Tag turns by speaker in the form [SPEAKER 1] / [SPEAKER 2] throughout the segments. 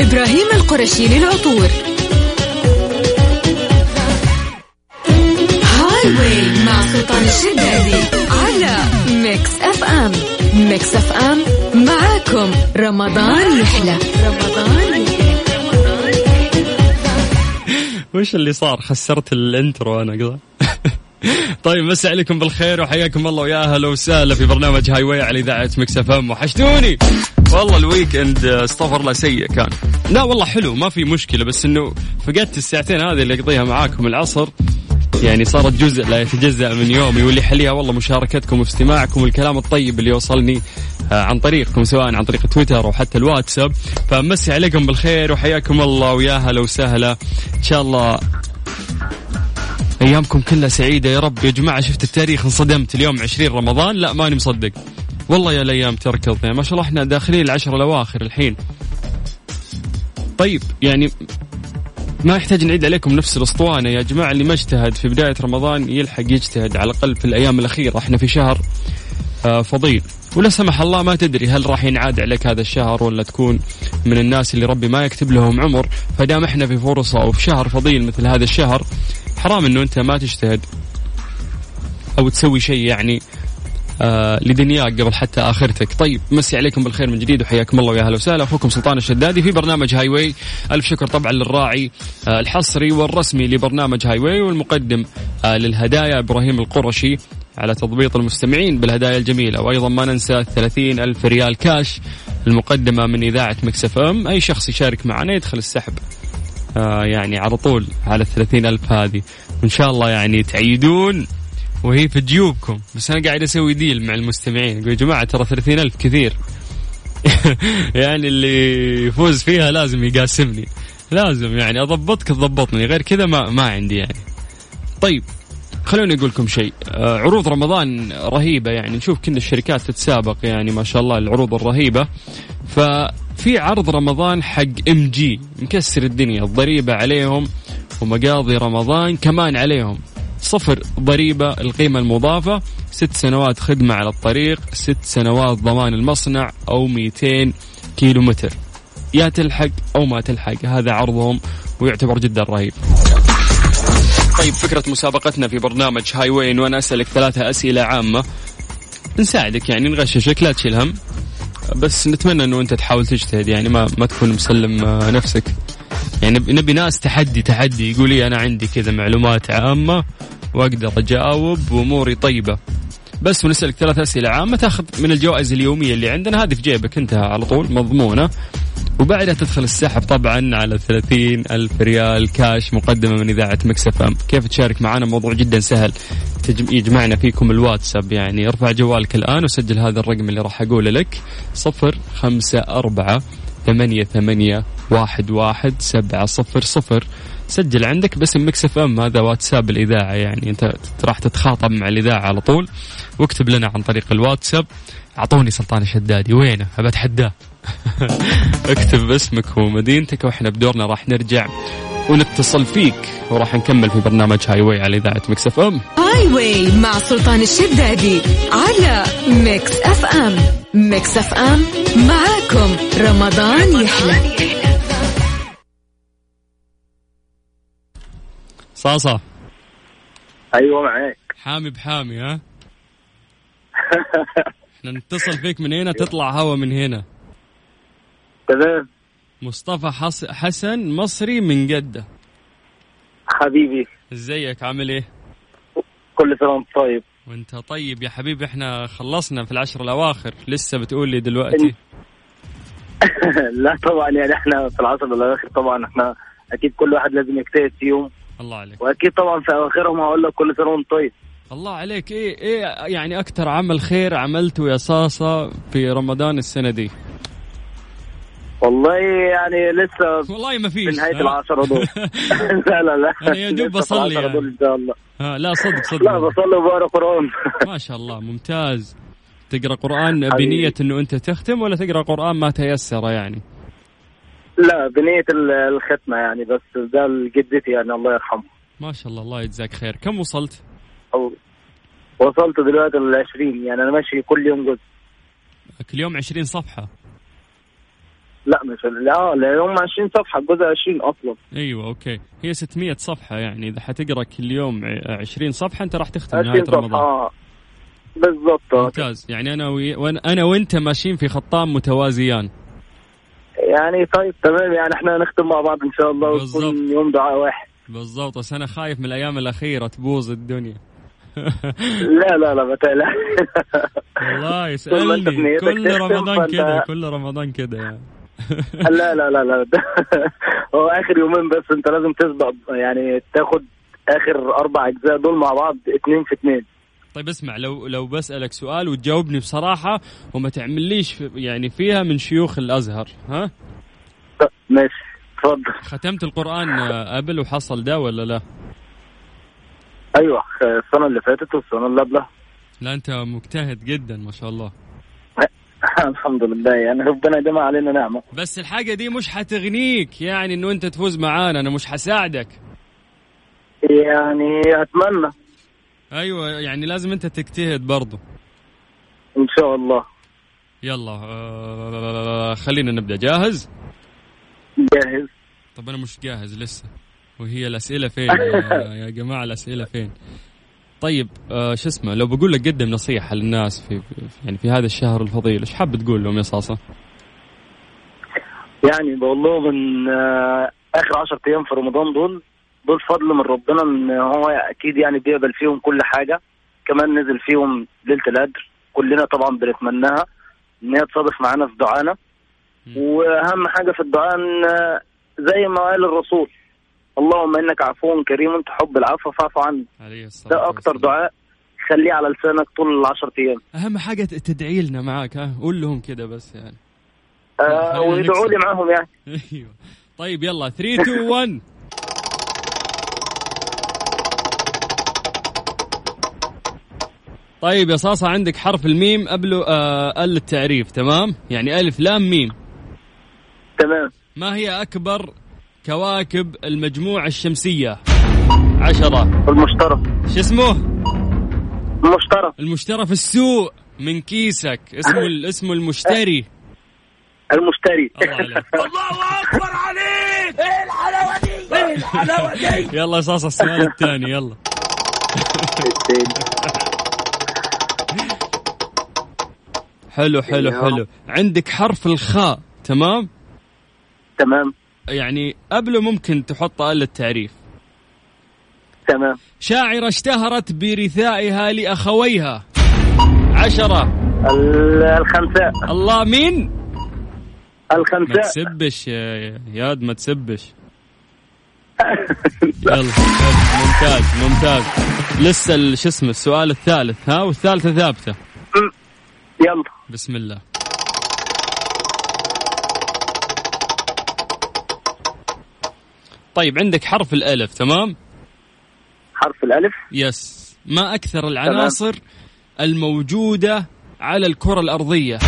[SPEAKER 1] إبراهيم القرشي للعطور هاي واي مع سلطان الشدادي على ميكس أف أم ميكس أف أم معاكم رمضان يحلى رمضان يحلى
[SPEAKER 2] وش اللي صار خسرت الانترو انا قضى طيب مسا عليكم بالخير وحياكم الله ويا اهلا وسهلا في برنامج هاي واي على اذاعه مكس اف ام وحشتوني والله الويكند آه، استغفر الله سيء كان لا والله حلو ما في مشكله بس انه فقدت الساعتين هذه اللي اقضيها معاكم العصر يعني صارت جزء لا يتجزا من يومي واللي يحليها والله مشاركتكم واستماعكم والكلام الطيب اللي يوصلني آه، عن طريقكم سواء عن طريق تويتر او حتى الواتساب فمسي عليكم بالخير وحياكم الله ويا هلا وسهلا ان شاء الله ايامكم كلها سعيده يا رب يا جماعه شفت التاريخ انصدمت اليوم 20 رمضان لا ماني مصدق والله يا الايام تركض يعني ما شاء الله احنا داخلين العشر الاواخر الحين طيب يعني ما يحتاج نعيد عليكم نفس الاسطوانه يا جماعه اللي ما اجتهد في بدايه رمضان يلحق يجتهد على الاقل في الايام الاخيره احنا في شهر آه، فضيل ولا سمح الله ما تدري هل راح ينعاد عليك هذا الشهر ولا تكون من الناس اللي ربي ما يكتب لهم عمر فدام احنا في فرصه او في شهر فضيل مثل هذا الشهر حرام انه انت ما تجتهد او تسوي شيء يعني آه لدنياك قبل حتى اخرتك طيب مسي عليكم بالخير من جديد وحياكم الله ويا هلا وسهلا اخوكم سلطان الشدادي في برنامج هاي واي الف شكر طبعا للراعي آه الحصري والرسمي لبرنامج هاي واي والمقدم آه للهدايا ابراهيم القرشي على تضبيط المستمعين بالهدايا الجميله وايضا ما ننسى 30 الف ريال كاش المقدمه من اذاعه مكسف ام اي شخص يشارك معنا يدخل السحب آه، يعني على طول على الثلاثين ألف هذه وإن شاء الله يعني تعيدون وهي في جيوبكم بس أنا قاعد أسوي ديل مع المستمعين أقول يا جماعة ترى ثلاثين ألف كثير يعني اللي يفوز فيها لازم يقاسمني لازم يعني أضبطك تضبطني غير كذا ما, ما عندي يعني طيب خلوني اقول لكم شيء آه، عروض رمضان رهيبه يعني نشوف كل الشركات تتسابق يعني ما شاء الله العروض الرهيبه ففي عرض رمضان حق ام جي مكسر الدنيا الضريبه عليهم ومقاضي رمضان كمان عليهم صفر ضريبة القيمة المضافة ست سنوات خدمة على الطريق ست سنوات ضمان المصنع أو 200 كيلو متر يا تلحق أو ما تلحق هذا عرضهم ويعتبر جدا رهيب طيب فكرة مسابقتنا في برنامج هاي وين وأنا أسألك ثلاثة أسئلة عامة نساعدك يعني نغششك لا تشيل هم بس نتمنى أنه أنت تحاول تجتهد يعني ما ما تكون مسلم آه، نفسك يعني نبي- نبي ناس تحدي تحدي يقول لي أنا عندي كذا معلومات عامة وأقدر أجاوب وأموري طيبة بس ونسألك ثلاث أسئلة عامة تاخذ من الجوائز اليومية اللي عندنا هذه في جيبك انتهى على طول مضمونة وبعدها تدخل السحب طبعا على 30 ألف ريال كاش مقدمة من إذاعة مكسف أم كيف تشارك معنا موضوع جدا سهل تجم- يجمعنا فيكم الواتساب يعني ارفع جوالك الآن وسجل هذا الرقم اللي راح أقوله لك صفر خمسة أربعة ثمانية ثمانية واحد واحد سبعة صفر صفر سجل عندك باسم مكس اف ام هذا واتساب الاذاعه يعني انت راح تتخاطب مع الاذاعه على طول واكتب لنا عن طريق الواتساب اعطوني سلطان الشدادي وينه ابى اتحداه اكتب اسمك ومدينتك واحنا بدورنا راح نرجع ونتصل فيك وراح نكمل في برنامج هاي واي على اذاعه مكس اف ام
[SPEAKER 1] هاي واي مع سلطان الشدادي على ميكس أف أم ميكس أف أم معاكم رمضان يحلى
[SPEAKER 2] صاصه
[SPEAKER 3] ايوه معاك
[SPEAKER 2] حامي بحامي ها احنا نتصل فيك من هنا تطلع هوا من هنا
[SPEAKER 3] تمام
[SPEAKER 2] مصطفى حس... حسن مصري من جده
[SPEAKER 3] حبيبي
[SPEAKER 2] ازيك عامل ايه
[SPEAKER 3] كل سنه وانت طيب
[SPEAKER 2] وانت طيب يا حبيبي احنا خلصنا في العشر الاواخر لسه بتقول لي دلوقتي
[SPEAKER 3] لا طبعا يعني احنا في العصر الاواخر طبعا احنا اكيد كل واحد لازم يجتهد فيهم
[SPEAKER 2] الله عليك
[SPEAKER 3] واكيد طبعا في اواخرهم هقول لك كل سنه وانت طيب
[SPEAKER 2] الله عليك ايه ايه يعني اكثر عمل خير عملته يا صاصه في رمضان السنه دي
[SPEAKER 3] والله يعني لسه
[SPEAKER 2] والله ما
[SPEAKER 3] في
[SPEAKER 2] فيش آه،
[SPEAKER 3] نهايه
[SPEAKER 2] ها؟
[SPEAKER 3] العشرة دول لا لا لا
[SPEAKER 2] أنا يا دوب
[SPEAKER 3] لسه في
[SPEAKER 2] بصلي
[SPEAKER 3] العشرة
[SPEAKER 2] يعني.
[SPEAKER 3] دول ان شاء الله
[SPEAKER 2] ها آه، لا صدق
[SPEAKER 3] لا
[SPEAKER 2] صدق
[SPEAKER 3] بصلي وبقرا قران
[SPEAKER 2] ما شاء الله ممتاز تقرا قران
[SPEAKER 3] حبيبي.
[SPEAKER 2] بنيه انه انت تختم ولا تقرا قران ما تيسر يعني
[SPEAKER 3] لا بنيه ال- الختمه يعني بس ده لجدتي يعني الله يرحمها
[SPEAKER 2] ما شاء الله الله يجزاك خير كم وصلت
[SPEAKER 3] أو- وصلت دلوقتي لل 20 يعني انا ماشي كل يوم جزء
[SPEAKER 2] كل يوم 20 صفحه
[SPEAKER 3] لا مش لا لا هم 20 صفحه الجزء 20 اصلا
[SPEAKER 2] ايوه اوكي هي 600 صفحه يعني اذا حتقرا كل يوم ع- 20 صفحه انت راح تختم
[SPEAKER 3] 20
[SPEAKER 2] نهايه
[SPEAKER 3] صفحه
[SPEAKER 2] رمضان
[SPEAKER 3] آه. بالظبط آه.
[SPEAKER 2] ممتاز يعني انا وي... وأنا- انا وانت ماشيين في خطان متوازيان
[SPEAKER 3] يعني طيب تمام يعني احنا نختم مع بعض ان شاء الله ويكون
[SPEAKER 2] بالظبط.
[SPEAKER 3] يوم دعاء واحد
[SPEAKER 2] بالضبط بس انا خايف من الايام الاخيره تبوظ الدنيا
[SPEAKER 3] لا لا لا ما تقلقش
[SPEAKER 2] والله
[SPEAKER 3] طول ما أنت في
[SPEAKER 2] يسألني
[SPEAKER 3] نيتك
[SPEAKER 2] كل
[SPEAKER 3] تختم
[SPEAKER 2] رمضان
[SPEAKER 3] فأنت-
[SPEAKER 2] كذا كل رمضان كذا يعني
[SPEAKER 3] لا لا لا لا هو اخر يومين بس انت لازم تسبق يعني تاخد اخر اربع اجزاء دول مع بعض اتنين في اتنين
[SPEAKER 2] طيب اسمع لو لو بسألك سؤال وتجاوبني بصراحة وما تعمليش في- يعني فيها من شيوخ الأزهر ها
[SPEAKER 3] طب، ماشي اتفضل
[SPEAKER 2] ختمت القرآن آه، قبل وحصل ده ولا لا
[SPEAKER 3] ايوه السنه اللي فاتت والسنه اللي قبلها
[SPEAKER 2] لا أنت مجتهد جدا ما شاء الله
[SPEAKER 3] الحمد لله يعني ربنا يديمها علينا نعمه
[SPEAKER 2] بس الحاجة دي مش حتغنيك يعني أنه أنت تفوز معانا أنا مش حساعدك
[SPEAKER 3] يعني اتمنى
[SPEAKER 2] أيوة يعني لازم أنت تجتهد برضو
[SPEAKER 3] ان شاء الله
[SPEAKER 2] يلا آه خلينا نبدأ جاهز
[SPEAKER 3] جاهز
[SPEAKER 2] طب أنا مش جاهز لسه وهي الأسئلة فين يا, يا جماعة الأسئلة فين طيب آه شو اسمه لو بقول لك قدم نصيحة للناس في في- يعني في هذا الشهر الفضيل ايش حاب تقول لهم يا صاصة؟
[SPEAKER 3] يعني بقول لهم ان آه، اخر 10 ايام في رمضان دول دول فضل من ربنا ان هو اكيد يعني بيقبل فيهم كل حاجه كمان نزل فيهم ليله القدر كلنا طبعا بنتمناها ان هي تصادف معانا في دعانا
[SPEAKER 2] مم.
[SPEAKER 3] واهم حاجه في الدعاء ان آه، زي ما قال الرسول اللهم انك عفو كريم تحب العفو فاعف عنا
[SPEAKER 2] عليه الصلاة
[SPEAKER 3] ده اكتر
[SPEAKER 2] والسلام.
[SPEAKER 3] دعاء خليه على لسانك طول العشر ايام
[SPEAKER 2] اهم حاجة تدعي لنا معاك ها قول لهم كده بس يعني
[SPEAKER 3] آه
[SPEAKER 2] خلينا
[SPEAKER 3] ويدعوا لي
[SPEAKER 2] نكسب.
[SPEAKER 3] معاهم يعني
[SPEAKER 2] ايوه طيب يلا 3 2 1 طيب يا صاصة عندك حرف الميم قبله آه ال التعريف تمام؟ يعني ألف لام ميم
[SPEAKER 3] تمام
[SPEAKER 2] ما هي أكبر كواكب المجموعة الشمسية؟ عشرة
[SPEAKER 3] المشترك
[SPEAKER 2] شو اسمه؟
[SPEAKER 3] المشترك
[SPEAKER 2] المشترى في السوق من كيسك اسمه ال- اسمه المشتري
[SPEAKER 3] المشتري
[SPEAKER 2] الله عليك الله اكبر عليك ايه الحلاوه دي ايه الحلاوه دي يلا يا صاصه السؤال الثاني يلا حلو حلو حلو عندك حرف الخاء تمام
[SPEAKER 3] تمام
[SPEAKER 2] يعني قبله ممكن تحط ال التعريف
[SPEAKER 3] تمام
[SPEAKER 2] شاعرة اشتهرت برثائها لأخويها عشرة
[SPEAKER 3] ال- الخنساء
[SPEAKER 2] الله مين؟ ما
[SPEAKER 3] الخنساء
[SPEAKER 2] تسبش يا يا- ياد ما تسبش يلا ممتاز ممتاز لسه ال- شو اسمه السؤال الثالث ها والثالثة ثابتة
[SPEAKER 3] يلا
[SPEAKER 2] بسم الله طيب عندك حرف الألف تمام
[SPEAKER 3] حرف الألف
[SPEAKER 2] يس ما أكثر العناصر الموجودة على الكرة الأرضية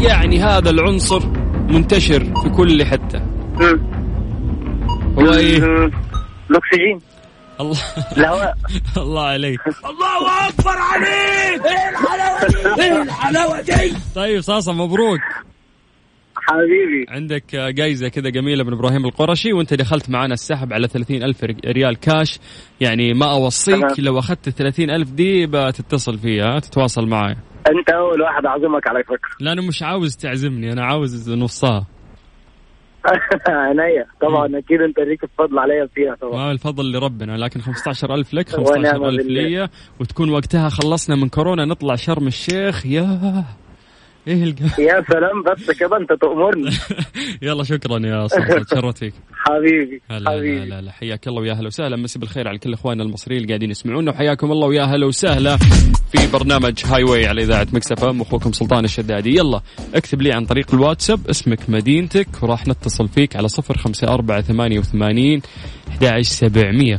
[SPEAKER 2] يعني هذا العنصر منتشر في كل حتة
[SPEAKER 3] مم.
[SPEAKER 2] هو إيه
[SPEAKER 3] مم. الأكسجين
[SPEAKER 2] الله
[SPEAKER 3] الهواء
[SPEAKER 2] الله عليك الله اكبر عليك ايه الحلاوه دي ايه الحلاوه دي طيب صاصه مبروك
[SPEAKER 3] حبيبي
[SPEAKER 2] عندك آه، جايزه كذا جميله من ابراهيم القرشي وانت دخلت معنا السحب على 30 الف ريال كاش يعني ما
[SPEAKER 3] تمام.
[SPEAKER 2] اوصيك لو اخذت 30 الف دي بتتصل فيها تتواصل معي
[SPEAKER 3] أنت أول واحد أعزمك على فكرة
[SPEAKER 2] لا انا مش عاوز تعزمني انا عاوز نصها
[SPEAKER 3] عينيا طبعا أكيد أنت ليك الفضل عليا فيها طبعا
[SPEAKER 2] ما الفضل لربنا لكن 15 ألف لك
[SPEAKER 3] ونعم
[SPEAKER 2] 15 ألف
[SPEAKER 3] بالله.
[SPEAKER 2] لي وتكون وقتها خلصنا من كورونا نطلع شرم الشيخ يا ايه الجو
[SPEAKER 3] يا سلام بس كده أنت تأمرني
[SPEAKER 2] يلا شكرا يا صاحبي تشرفت فيك
[SPEAKER 3] حبيبي
[SPEAKER 2] هلا هلا
[SPEAKER 3] حبيبي
[SPEAKER 2] هلا هلا. حياك الله ويا اهلا وسهلا مسي بالخير على كل اخواننا المصريين اللي قاعدين يسمعونا وحياكم الله ويا اهلا وسهلا في برنامج هاي واي على اذاعه مكسف ام اخوكم سلطان الشدادي يلا اكتب لي عن طريق الواتساب اسمك مدينتك وراح نتصل فيك على 05488 11700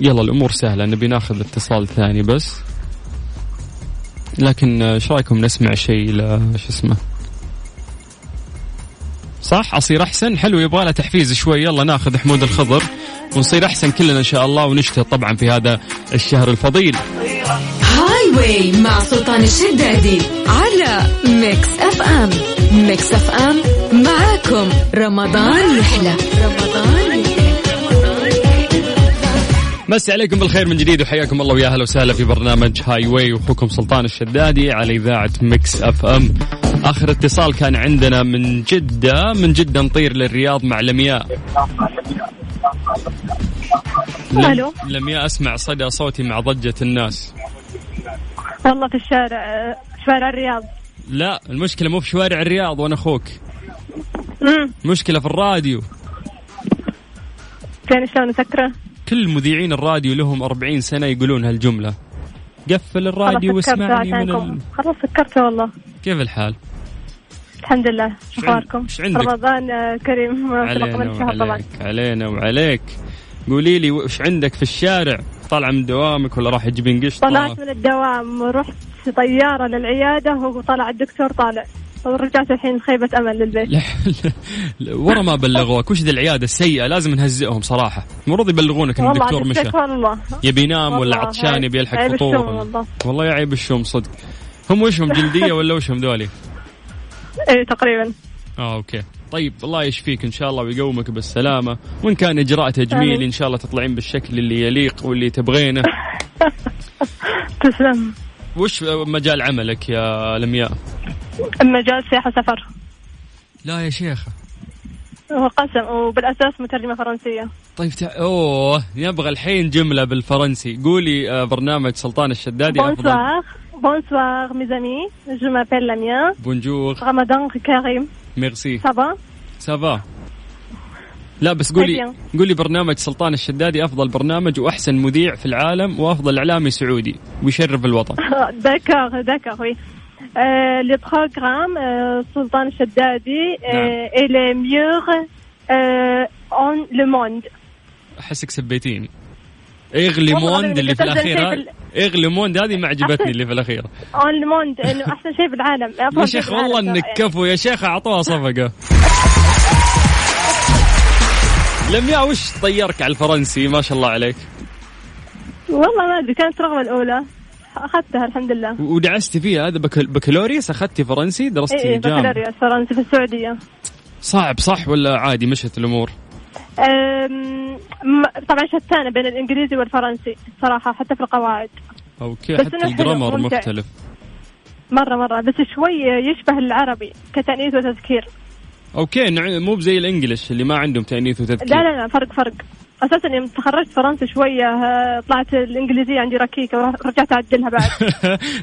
[SPEAKER 2] يلا الامور سهله نبي ناخذ اتصال ثاني بس لكن آه، ايش رايكم نسمع شيء ل شو اسمه صح اصير احسن حلو يبغى له تحفيز شوي يلا ناخذ حمود الخضر ونصير احسن كلنا ان شاء الله ونجتهد طبعا في هذا الشهر الفضيل
[SPEAKER 1] هاي واي مع سلطان الشدادي على ميكس اف ام ميكس اف ام معاكم رمضان يحلى رمضان
[SPEAKER 2] مسي عليكم بالخير من جديد وحياكم الله ويا اهلا وسهلا في برنامج هاي واي واخوكم سلطان الشدادي على اذاعه مكس اف ام اخر اتصال كان عندنا من جده من جده نطير للرياض مع لمياء
[SPEAKER 4] ألو.
[SPEAKER 2] لمياء اسمع صدى صوتي مع ضجه الناس
[SPEAKER 4] والله في الشارع شوارع الرياض
[SPEAKER 2] لا المشكله مو في شوارع الرياض وانا اخوك
[SPEAKER 4] امم
[SPEAKER 2] مشكله في الراديو
[SPEAKER 4] فين يعني شلون نسكره؟
[SPEAKER 2] كل مذيعين الراديو لهم 40 سنه يقولون هالجمله قفل الراديو
[SPEAKER 4] خلاص سكرته
[SPEAKER 2] واسمعني من ال...
[SPEAKER 4] عشانكم خلاص سكرته والله
[SPEAKER 2] كيف الحال؟
[SPEAKER 4] الحمد لله شو
[SPEAKER 2] عند-
[SPEAKER 4] اخباركم؟
[SPEAKER 2] شو عندك؟
[SPEAKER 4] رمضان آه، كريم
[SPEAKER 2] علينا
[SPEAKER 4] وعليكم الشهر طبعا
[SPEAKER 2] وعليك علينا وعليك قولي لي وش عندك في الشارع طالعه من دوامك ولا راح تجيبين قشطه
[SPEAKER 4] طلعت من الدوام ورحت طيارة للعيادة وطلع الدكتور طالع ورجعت الحين خيبة أمل للبيت
[SPEAKER 2] لا- لا- لا، ورا ما بلغوك وش ذي العياده السيئه لازم نهزئهم صراحه المفروض يبلغونك ان
[SPEAKER 4] والله
[SPEAKER 2] الدكتور
[SPEAKER 4] عاد
[SPEAKER 2] مشى
[SPEAKER 4] الشك والله
[SPEAKER 2] يبي ينام ولا
[SPEAKER 4] والله
[SPEAKER 2] عطشان
[SPEAKER 4] عيب-
[SPEAKER 2] يبي يلحق
[SPEAKER 4] عيب الشم
[SPEAKER 2] فطور
[SPEAKER 4] والله.
[SPEAKER 2] والله يا عيب الشوم صدق هم وشهم جلديه ولا وشهم ذولي؟
[SPEAKER 4] ايه تقريبا
[SPEAKER 2] اه اوكي طيب الله يشفيك ان شاء الله ويقومك بالسلامه وان كان اجراء تجميلي
[SPEAKER 4] آمين.
[SPEAKER 2] ان شاء الله تطلعين بالشكل اللي يليق واللي تبغينه
[SPEAKER 4] تسلم
[SPEAKER 2] وش مجال عملك يا لمياء
[SPEAKER 4] المجال سياحة سفر
[SPEAKER 2] لا يا شيخه
[SPEAKER 4] وقسم وبالأساس مترجمة فرنسية
[SPEAKER 2] طيب تع... اوه نبغى الحين جمله بالفرنسي قولي آه، برنامج سلطان الشدادي افضل
[SPEAKER 4] بونسوار بونسوار ميزامي جو مابيل لاميان
[SPEAKER 2] بونجور
[SPEAKER 4] رمضان كريم
[SPEAKER 2] ميرسي
[SPEAKER 4] سافا
[SPEAKER 2] سافا لا بس قولي
[SPEAKER 4] طيب.
[SPEAKER 2] قولي برنامج سلطان الشدادي افضل برنامج واحسن مذيع في العالم وافضل اعلامي سعودي ويشرف الوطن
[SPEAKER 4] D'accord, d'accord, oui. Euh, le programme euh, Sultan Shaddadi euh,
[SPEAKER 2] نعم.
[SPEAKER 4] et les murs euh, en le monde.
[SPEAKER 2] احسك سبيتيني اغلي
[SPEAKER 4] والله
[SPEAKER 2] موند
[SPEAKER 4] العظيم
[SPEAKER 2] اللي في
[SPEAKER 4] قتلت
[SPEAKER 2] الاخير
[SPEAKER 4] شيء
[SPEAKER 2] ها- اغلي موند هذه ما عجبتني اللي في الاخير
[SPEAKER 4] En le monde, إنه أحسن شيء بالعالم.
[SPEAKER 2] يا
[SPEAKER 4] أفضل شيء
[SPEAKER 2] شيخ والله
[SPEAKER 4] بالعالم
[SPEAKER 2] انك
[SPEAKER 4] ترى.
[SPEAKER 2] كفو يا شيخ اعطوها صفقه لمياء وش طيرك على الفرنسي ما شاء الله عليك
[SPEAKER 4] والله ما أدري كانت الرغبة الأولى أخذتها الحمد لله.
[SPEAKER 2] و- ودعستي فيها هذا بكال- بكالوريوس اخذتي فرنسي درستي
[SPEAKER 4] إيه
[SPEAKER 2] جامعة
[SPEAKER 4] بكالوريوس فرنسي في السعودية.
[SPEAKER 2] صعب صح ولا عادي مشت الامور
[SPEAKER 4] أم، م- طبعا شتانة بين الإنجليزي والفرنسي صراحة حتى في القواعد.
[SPEAKER 2] اوكي
[SPEAKER 4] بس
[SPEAKER 2] حتى
[SPEAKER 4] إنه حلو،
[SPEAKER 2] الجرامر
[SPEAKER 4] ممتع.
[SPEAKER 2] مختلف
[SPEAKER 4] مرة مرة بس شوي يشبه العربي كتأنيث وتذكير.
[SPEAKER 2] اوكي نع- مو بزي الانجليش اللي ما عندهم تانيث وتذكير
[SPEAKER 4] لا لا لا فرق فرق اساسا يوم تخرجت فرنسا شويه آه، طلعت الانجليزيه عندي ركيكه ورجعت اعدلها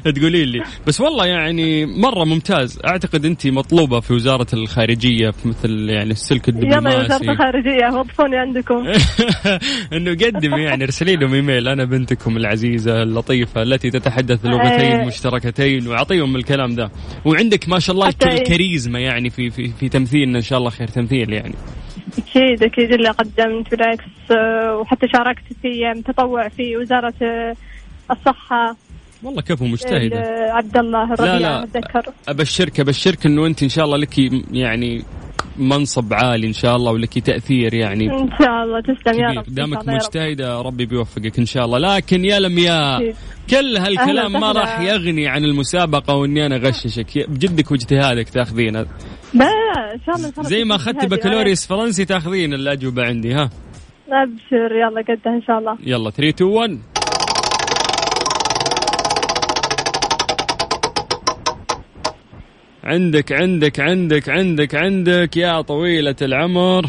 [SPEAKER 4] بعد
[SPEAKER 2] تقولي لي بس والله يعني مره ممتاز اعتقد انت مطلوبه في وزاره الخارجيه في مثل يعني السلك
[SPEAKER 4] يلا يا وزاره
[SPEAKER 2] الدبلوماسي
[SPEAKER 4] الخارجيه وظفوني عندكم
[SPEAKER 2] انه قدم يعني ارسلي لهم ايميل انا بنتكم العزيزه اللطيفه التي تتحدث لغتين
[SPEAKER 4] آه.
[SPEAKER 2] مشتركتين واعطيهم الكلام ذا وعندك ما شاء الله
[SPEAKER 4] حتى إيه.
[SPEAKER 2] الكاريزما يعني في في في تمثيلنا ان شاء الله خير تمثيل يعني
[SPEAKER 4] اكيد اكيد اللي قدمت بالعكس آه، وحتى شاركت في أيام تطوع في وزاره آه، الصحه
[SPEAKER 2] والله كفو مجتهده
[SPEAKER 4] ال- عبد الله
[SPEAKER 2] لا، لا.
[SPEAKER 4] الربيع اتذكر
[SPEAKER 2] ابشرك ابشرك انه انت ان شاء الله لك يعني منصب عالي ان شاء الله ولك تاثير يعني
[SPEAKER 4] ان شاء الله تسلم
[SPEAKER 2] كبير
[SPEAKER 4] يا رب إن شاء
[SPEAKER 2] دامك
[SPEAKER 4] الله يا رب.
[SPEAKER 2] مجتهدة ربي بيوفقك إن شاء الله لكن يا لمياء
[SPEAKER 4] أكيد.
[SPEAKER 2] كل هالكلام
[SPEAKER 4] أهلا
[SPEAKER 2] ما
[SPEAKER 4] وسهلا.
[SPEAKER 2] راح يغني عن المسابقة وإني أنا أغششك يا- بجدك واجتهادك تاخذينها
[SPEAKER 4] لا ان شاء الله إن شاء الله
[SPEAKER 2] زي ما
[SPEAKER 4] تسلم
[SPEAKER 2] أخذت
[SPEAKER 4] هذه.
[SPEAKER 2] بكالوريوس فرنسي تاخذين الأجوبة عندي ها
[SPEAKER 4] ابشر يلا قدها ان شاء الله
[SPEAKER 2] يلا 3 2 1 عندك عندك عندك عندك عندك يا طويلة العمر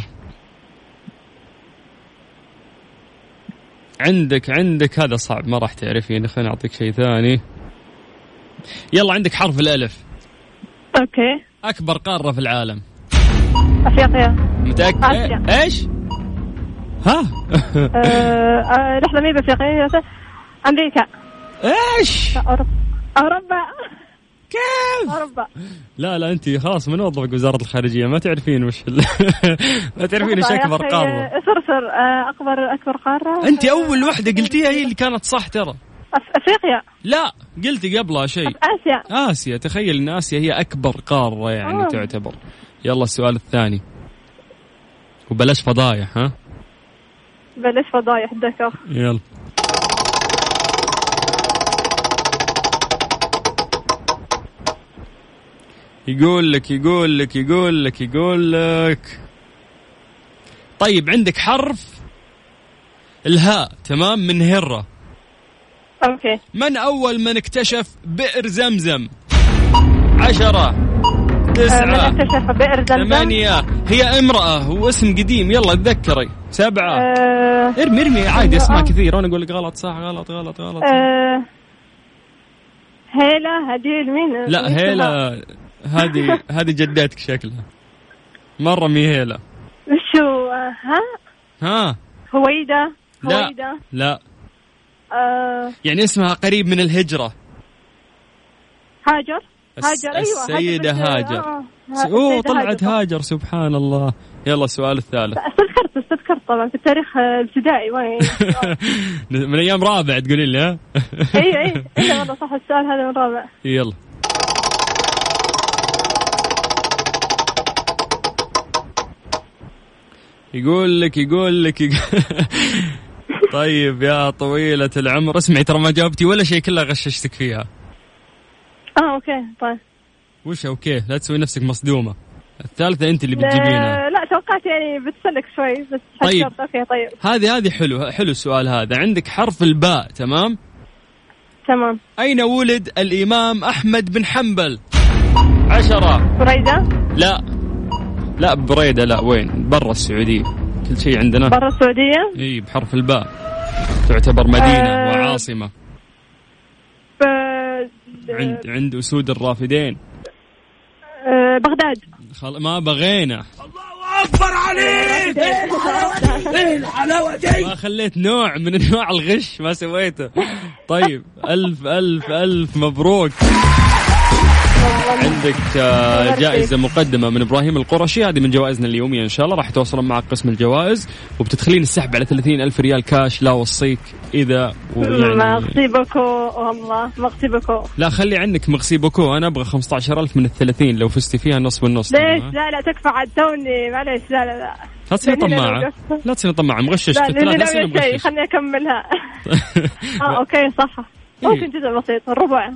[SPEAKER 2] عندك عندك هذا صعب ما راح تعرفين خليني اعطيك شيء ثاني يلا عندك حرف الالف
[SPEAKER 4] اوكي
[SPEAKER 2] اكبر قاره في العالم
[SPEAKER 4] افريقيا
[SPEAKER 2] متاكد
[SPEAKER 4] آسيا.
[SPEAKER 2] ايش ها
[SPEAKER 4] آه، آه، لحظه مين بافريقيا امريكا
[SPEAKER 2] ايش
[SPEAKER 4] أوروبا أوروبا
[SPEAKER 2] كيف
[SPEAKER 4] أوروبا
[SPEAKER 2] لا لا انت خلاص من وظفك وزاره الخارجيه ما تعرفين وش ال... ما تعرفين وش
[SPEAKER 4] يا
[SPEAKER 2] اكبر
[SPEAKER 4] أخي،
[SPEAKER 2] قاره
[SPEAKER 4] صرصر آه، أكبر أكبر قارة
[SPEAKER 2] انت اول وحده قلتيها هي اللي كانت صح ترى
[SPEAKER 4] أف- أفريقيا
[SPEAKER 2] لا قلتي قبلها شيء
[SPEAKER 4] آسيا
[SPEAKER 2] اسيا تخيل ان اسيا هي اكبر قاره يعني
[SPEAKER 4] آه.
[SPEAKER 2] تعتبر يلا السؤال الثاني وبلاش فضايح ها
[SPEAKER 4] بلاش فضايح ذكر
[SPEAKER 2] يلا يقول لك يقول لك يقول لك يقول لك طيب عندك حرف الهاء تمام من هرة
[SPEAKER 4] اوكي
[SPEAKER 2] من أول من اكتشف بئر زمزم عشرة
[SPEAKER 4] آه، من
[SPEAKER 2] تسعة
[SPEAKER 4] اكتشف بئر زمزم
[SPEAKER 2] ثمانية هي امرأة واسم قديم يلا تذكري سبعة
[SPEAKER 4] آه،
[SPEAKER 2] ارمي ارمي عادي اسماء
[SPEAKER 4] آه.
[SPEAKER 2] كثير وانا اقول لك غلط صح غلط غلط غلط
[SPEAKER 4] آه، هيلا هديل مين
[SPEAKER 2] لا
[SPEAKER 4] مين اسمها؟
[SPEAKER 2] هيلا هذه هذه جدتك شكلها مرة مي هيلا
[SPEAKER 4] شو آه، ها
[SPEAKER 2] ها
[SPEAKER 4] هويدا
[SPEAKER 2] لا
[SPEAKER 4] هويدا
[SPEAKER 2] لا
[SPEAKER 4] آه،
[SPEAKER 2] يعني اسمها قريب من الهجرة
[SPEAKER 4] هاجر
[SPEAKER 2] الس-
[SPEAKER 4] هاجر ايوه
[SPEAKER 2] السيدة
[SPEAKER 4] بنت-
[SPEAKER 2] هاجر.
[SPEAKER 4] آه، ها-
[SPEAKER 2] اوه
[SPEAKER 4] السيدة
[SPEAKER 2] طلعت
[SPEAKER 4] صح.
[SPEAKER 2] هاجر سبحان الله يلا السؤال الثالث
[SPEAKER 4] استذكرت استذكرت طبعا في التاريخ آه، الابتدائي وين
[SPEAKER 2] من ايام رابع تقولي لي ها
[SPEAKER 4] اي اي اي والله صح السؤال هذا من رابع
[SPEAKER 2] يلا يقول لك يقول لك يقول- طيب يا طويلة العمر اسمعي ترى ما جاوبتي ولا شيء كلها غششتك فيها
[SPEAKER 4] اه اوكي طيب
[SPEAKER 2] وش اوكي لا تسوي نفسك مصدومة الثالثة انت اللي بتجيبينها
[SPEAKER 4] آه، لا توقعت يعني بتسلك شوي بس
[SPEAKER 2] طيب.
[SPEAKER 4] حشرت اوكي طيب
[SPEAKER 2] هذه هذه حلو حلو السؤال هذا عندك حرف الباء تمام
[SPEAKER 4] تمام
[SPEAKER 2] أين ولد الإمام أحمد بن حنبل عشرة
[SPEAKER 4] بريدة
[SPEAKER 2] لا لا بريدة لا وين برا السعودية كل شيء عندنا
[SPEAKER 4] برا السعودية
[SPEAKER 2] اي بحرف الباء تعتبر مدينة
[SPEAKER 4] آه.
[SPEAKER 2] وعاصمة
[SPEAKER 4] ب...
[SPEAKER 2] عند عند أسود الرافدين
[SPEAKER 4] آه، بغداد
[SPEAKER 2] خل... ما بغينا
[SPEAKER 4] إيه
[SPEAKER 2] يعني. إيه ما خليت نوع من انواع الغش ما سويته طيب الف الف الف مبروك عندك آه، جائزة مقدمة من ابراهيم القرشي هذه من جوائزنا اليومية ان شاء الله راح توصلون معك قسم الجوائز وبتدخلين السحب على 30 الف ريال كاش لا وصيك اذا ويعني
[SPEAKER 4] مغصبكو والله مغصبكو
[SPEAKER 2] لا خلي عنك مغسي بوكو انا ابغى 15000 من ال 30 لو فزتي فيها نص بالنص
[SPEAKER 4] ليش
[SPEAKER 2] تمام؟
[SPEAKER 4] لا لا تكفى عاد توني معليش لا لا لا
[SPEAKER 2] لا تصير
[SPEAKER 4] لأني لو
[SPEAKER 2] طماعه
[SPEAKER 4] وقفت-
[SPEAKER 2] لا تصير طماعه مغشش لا
[SPEAKER 4] لا لاني
[SPEAKER 2] لا
[SPEAKER 4] ناوية
[SPEAKER 2] تصير
[SPEAKER 4] شيء
[SPEAKER 2] مغشش
[SPEAKER 4] خليني اكملها اه اوكي صح
[SPEAKER 2] إيه.
[SPEAKER 4] ممكن جزء بسيط الربع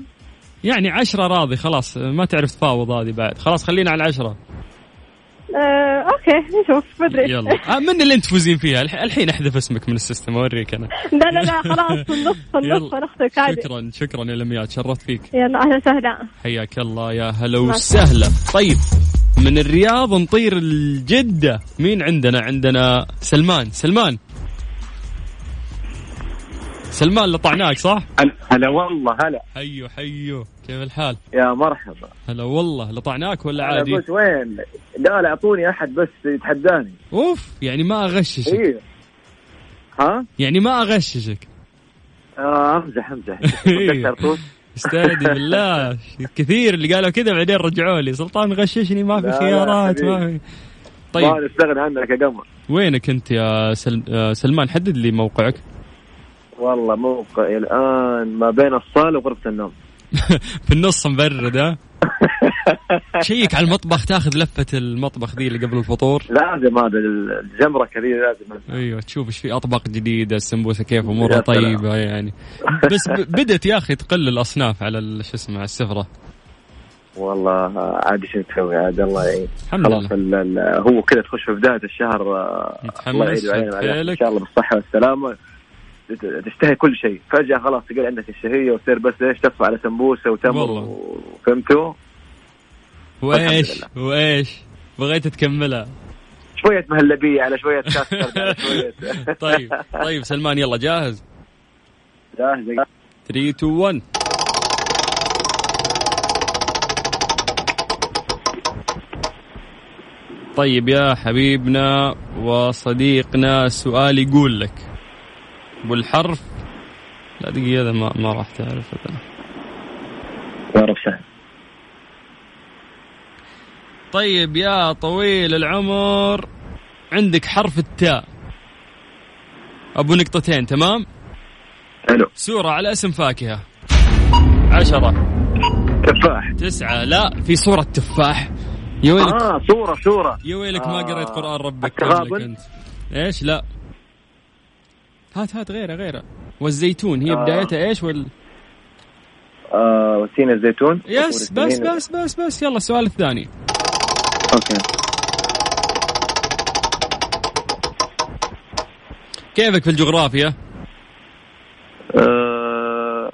[SPEAKER 2] يعني عشرة راضي خلاص ما تعرف تفاوض هذه بعد خلاص خلينا على العشرة
[SPEAKER 4] آه، اوكي نشوف مدري
[SPEAKER 2] يلا آه، من اللي انت تفوزين فيها الح- الحين احذف اسمك من السيستم اوريك انا
[SPEAKER 4] لا لا لا خلاص النص النص ونختك عادي
[SPEAKER 2] شكرا شكرا يا لمياء تشرفت فيك
[SPEAKER 4] يلا اهلا وسهلا
[SPEAKER 2] حياك الله يا هلا وسهلا طيب من الرياض نطير الجدة مين عندنا عندنا سلمان سلمان سلمان اللي طعناك صح
[SPEAKER 5] هلا- هلا والله هلا
[SPEAKER 2] حيو حيو كيف الحال
[SPEAKER 5] يا مرحبا
[SPEAKER 2] هلا والله لطعناك ولا
[SPEAKER 5] انا
[SPEAKER 2] عادي
[SPEAKER 5] قلت وين لا لا اعطوني احد بس يتحداني
[SPEAKER 2] اوف يعني ما
[SPEAKER 3] إيه.
[SPEAKER 2] اغششك
[SPEAKER 5] ايه ها
[SPEAKER 2] يعني ما اغششك
[SPEAKER 5] آه، امزح امزح
[SPEAKER 2] إيه.
[SPEAKER 5] تذكرتوش
[SPEAKER 2] استهدي بالله كثير اللي قالوا كذا بعدين رجعوا لي سلطان غششني ما في
[SPEAKER 5] لا، لا،
[SPEAKER 2] خيارات ما في
[SPEAKER 5] طيب
[SPEAKER 2] طيب
[SPEAKER 5] ما نستغنى عنك يا قمر
[SPEAKER 2] وينك انت يا سل... آه، سلمان حدد لي موقعك
[SPEAKER 5] والله موقعي الان ما بين الصاله وغرفه النوم
[SPEAKER 2] في النص مبرد ها شيك على المطبخ تاخذ لفه المطبخ ذي اللي قبل الفطور
[SPEAKER 5] لازم هذا الجمره كبيره لازم
[SPEAKER 2] ايوه تشوف ايش في اطباق جديده السمبوسه كيف امورها
[SPEAKER 5] يا سلام.
[SPEAKER 2] طيبه يعني بس ب- بدت يا اخي تقل الاصناف على ال- شو اسمه على السفره
[SPEAKER 5] والله آه، عاد شو تسوي عاد الله يعين
[SPEAKER 2] الحمد
[SPEAKER 5] خلاص
[SPEAKER 2] لله
[SPEAKER 5] ال- ال- هو كذا تخش في بدايه الشهر آه، الله
[SPEAKER 2] متحمس
[SPEAKER 5] يعيد ويعيننا عليها. ان
[SPEAKER 2] حيلك
[SPEAKER 5] شاء الله بالصحه والسلامه تت- تشتهي كل شيء فجاه خلاص تقل عندك الشهيه وتصير بس ايش تطفى على سمبوسه وتمر
[SPEAKER 2] والله.
[SPEAKER 5] و- فهمتوا؟
[SPEAKER 2] وايش
[SPEAKER 5] الحمد
[SPEAKER 2] وايش بغيت تكملها
[SPEAKER 5] شويه مهلبيه على شويه كاسترد على شويه
[SPEAKER 2] طيب طيب سلمان يلا جاهز
[SPEAKER 5] جاهزه
[SPEAKER 2] 3 2 1 طيب يا حبيبنا وصديقنا السؤال يقول لك بالحرف لا دقيقة هذا ما, ما راح تعرف أنا.
[SPEAKER 5] ورب سهل
[SPEAKER 2] طيب يا طويل العمر عندك حرف التاء أبو نقطتين تمام
[SPEAKER 5] حلو
[SPEAKER 2] سورة على اسم فاكهة عشرة
[SPEAKER 5] تفاح
[SPEAKER 2] تسعة لا في سورة تفاح يا ويلك
[SPEAKER 5] اه صوره صوره
[SPEAKER 2] يا ويلك ما
[SPEAKER 5] آه،
[SPEAKER 2] قريت قرآن ربك
[SPEAKER 5] التغابن؟
[SPEAKER 2] قبلك أنت ايش لا هات هات غيره غيره والزيتون هي
[SPEAKER 5] آه.
[SPEAKER 2] بدايتها ايش وال
[SPEAKER 5] آه وتين الزيتون
[SPEAKER 2] يس بس بس بس بس يلا السؤال الثاني
[SPEAKER 5] اوكي
[SPEAKER 2] كيفك في الجغرافيا؟
[SPEAKER 5] آه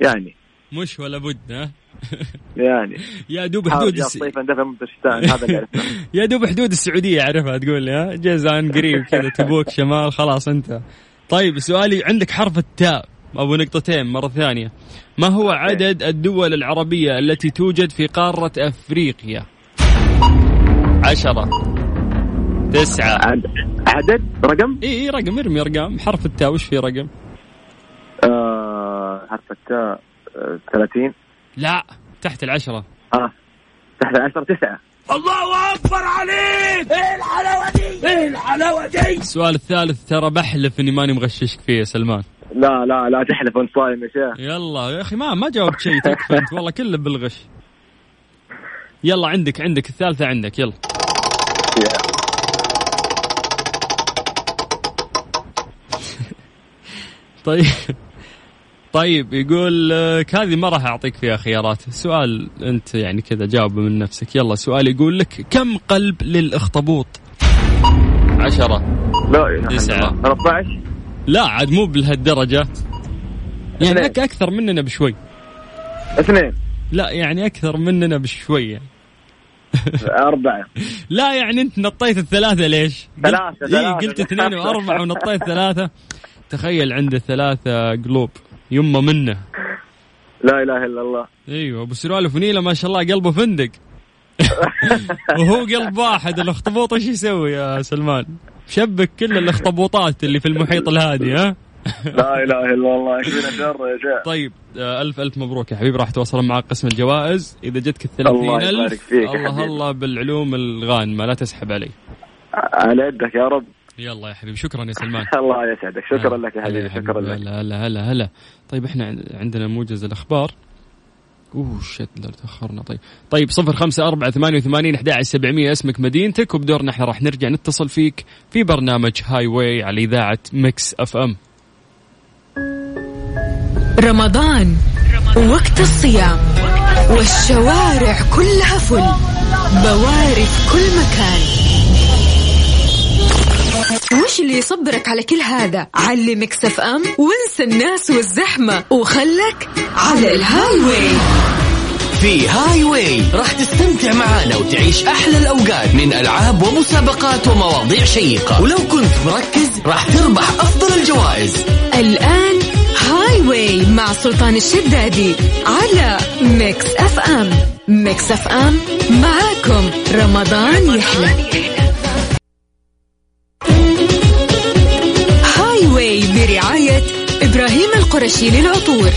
[SPEAKER 5] يعني
[SPEAKER 2] مش ولا بد ها؟
[SPEAKER 5] يعني
[SPEAKER 2] يا دوب حدود
[SPEAKER 5] حاول يا
[SPEAKER 2] الس...
[SPEAKER 5] الصيف اندفع من الشتاء هذا اللي عرفناه
[SPEAKER 2] يا دوب حدود السعودية أعرفها تقول لي ها جيزان قريب كذا تبوك شمال خلاص أنت طيب سؤالي عندك حرف التاء أبو نقطتين مرة ثانية ما هو عدد الدول العربية التي توجد في قارة أفريقيا عشرة تسعة
[SPEAKER 5] عد- عدد رقم
[SPEAKER 2] إي إي رقم ارمي أرقام حرف التاء وش في رقم
[SPEAKER 5] آه حرف التاء آه، 30
[SPEAKER 2] لا تحت العشرة
[SPEAKER 5] اه تحت 10 9
[SPEAKER 2] إيه السؤال الثالث ترى بحلف اني ماني مغششك فيه يا سلمان
[SPEAKER 5] لا لا لا تحلف وانت صايم يا شيخ
[SPEAKER 2] يلا يا اخي ما ما جاوبت شيء تكفى انت والله كله بالغش يلا عندك عندك الثالثة عندك يلا طيب طيب يقول لك هذه ما راح اعطيك فيها خيارات سؤال انت يعني كذا جاوبه من نفسك يلا سؤال يقول لك كم قلب للاخطبوط عشرة
[SPEAKER 5] لا إله إلا
[SPEAKER 2] تسعة.
[SPEAKER 5] الله. 13
[SPEAKER 2] لا عاد مو بهالدرجة يعني
[SPEAKER 5] اثنين.
[SPEAKER 2] أك- اكثر مننا بشوي
[SPEAKER 5] اثنين
[SPEAKER 2] لا يعني اكثر مننا بشوي يعني.
[SPEAKER 5] أربعة
[SPEAKER 2] لا يعني انت نطيت الثلاثة ليش؟ قلت-
[SPEAKER 5] ثلاثة،
[SPEAKER 2] إيه
[SPEAKER 5] ثلاثة.
[SPEAKER 2] قلت اثنين واربعة ونطيت ثلاثة تخيل عنده ثلاثة قلوب يمه منه
[SPEAKER 5] لا إله إلا الله
[SPEAKER 2] ايوه ابو سروال فنيله ما شاء الله قلبه فندق وهو قلب واحد الاخطبوط ايش يسوي يا سلمان؟ شبك كل الاخطبوطات اللي في المحيط الهادي ها؟
[SPEAKER 5] لا إله إلا الله يكفينا شر يا شيخ
[SPEAKER 2] طيب آه، الف الف مبروك يا حبيبي راح توصلون معك قسم الجوائز اذا جتك ال
[SPEAKER 5] الله
[SPEAKER 2] 30
[SPEAKER 5] يبارك
[SPEAKER 2] الف
[SPEAKER 5] فيك يا
[SPEAKER 2] الله
[SPEAKER 5] حبيبي.
[SPEAKER 2] الله بالعلوم الغانمه لا تسحب علي
[SPEAKER 5] على يدك يا رب
[SPEAKER 2] يلا يا حبيبي شكرا يا سلمان آه.
[SPEAKER 5] الله يسعدك شكرا لك يا
[SPEAKER 2] هلا
[SPEAKER 5] حبيبي شكرا لك
[SPEAKER 2] هلا هلا هلا هلا طيب احنا عن- عندنا موجز الاخبار اوه شت لو تاخرنا طيب طيب صفر خمسة أربعة ثمانية وثمانين أحد سبعمية اسمك مدينتك وبدورنا احنا راح نرجع نتصل فيك في برنامج هاي واي على إذاعة ميكس أف أم
[SPEAKER 1] رمضان وقت الصيام والشوارع كلها فل بوارد كل مكان وش اللي يصبرك على كل هذا علمك اف ام وانسى الناس والزحمة وخلك على الهاي واي
[SPEAKER 6] في هاي واي راح تستمتع معانا وتعيش احلى الاوقات من العاب ومسابقات ومواضيع شيقه ولو كنت مركز راح تربح افضل الجوائز
[SPEAKER 1] الآن هاي واي مع سلطان الشدادي على ميكس اف ام ميكس اف ام معاكم رمضان يحلى هاي واي برعاية إبراهيم القرشي للعطور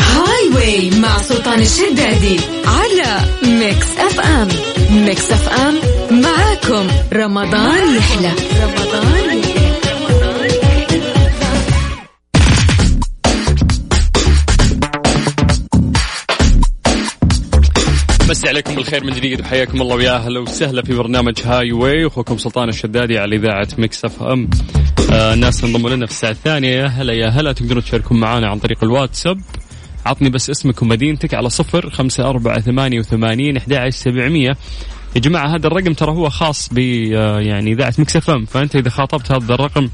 [SPEAKER 1] هاي واي مع سلطان الشدادي على ميكس اف ام ميكس اف ام معاكم رمضان يحلى رمضان يحلى
[SPEAKER 2] مسي عليكم بالخير من جديد وحياكم الله ويا اهلا وسهلا في برنامج هاي واي اخوكم سلطان الشدادي على اذاعه مكس اف ام آه ناس انضموا لنا في الساعه الثانيه يا هلا يا هلا تقدرون تشاركون معنا عن طريق الواتساب عطني بس اسمك ومدينتك على صفر خمسة أربعة ثمانية وثمانين أحد عشر سبعمية يا جماعة هذا الرقم ترى هو خاص ب آه، يعني إذاعة مكس اف ام فأنت إذا خاطبت هذا الرقم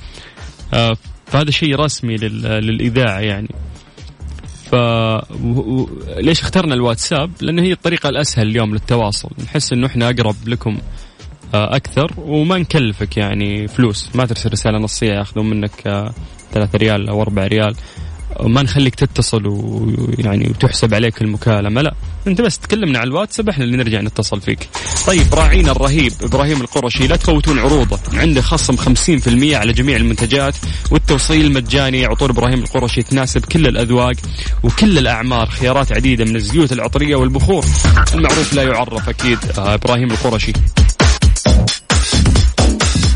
[SPEAKER 2] آه، فهذا شيء رسمي لل- للإذاعة يعني ف و- و- ليش اخترنا الواتساب؟ لانه هي الطريقه الاسهل اليوم للتواصل، نحس انه احنا اقرب لكم آه، اكثر وما نكلفك يعني فلوس، ما ترسل رساله نصيه ياخذون منك آه، 3 ريال او 4 ريال، ما نخليك تتصل ويعني وتحسب عليك المكالمه، لا، انت بس تكلمنا على الواتساب احنا اللي نرجع نتصل فيك. طيب راعينا الرهيب ابراهيم القرشي لا تفوتون عروضه، عنده خصم 50% على جميع المنتجات والتوصيل مجاني عطور ابراهيم القرشي تناسب كل الاذواق وكل الاعمار خيارات عديده من الزيوت العطريه والبخور المعروف لا يعرف اكيد آه، ابراهيم القرشي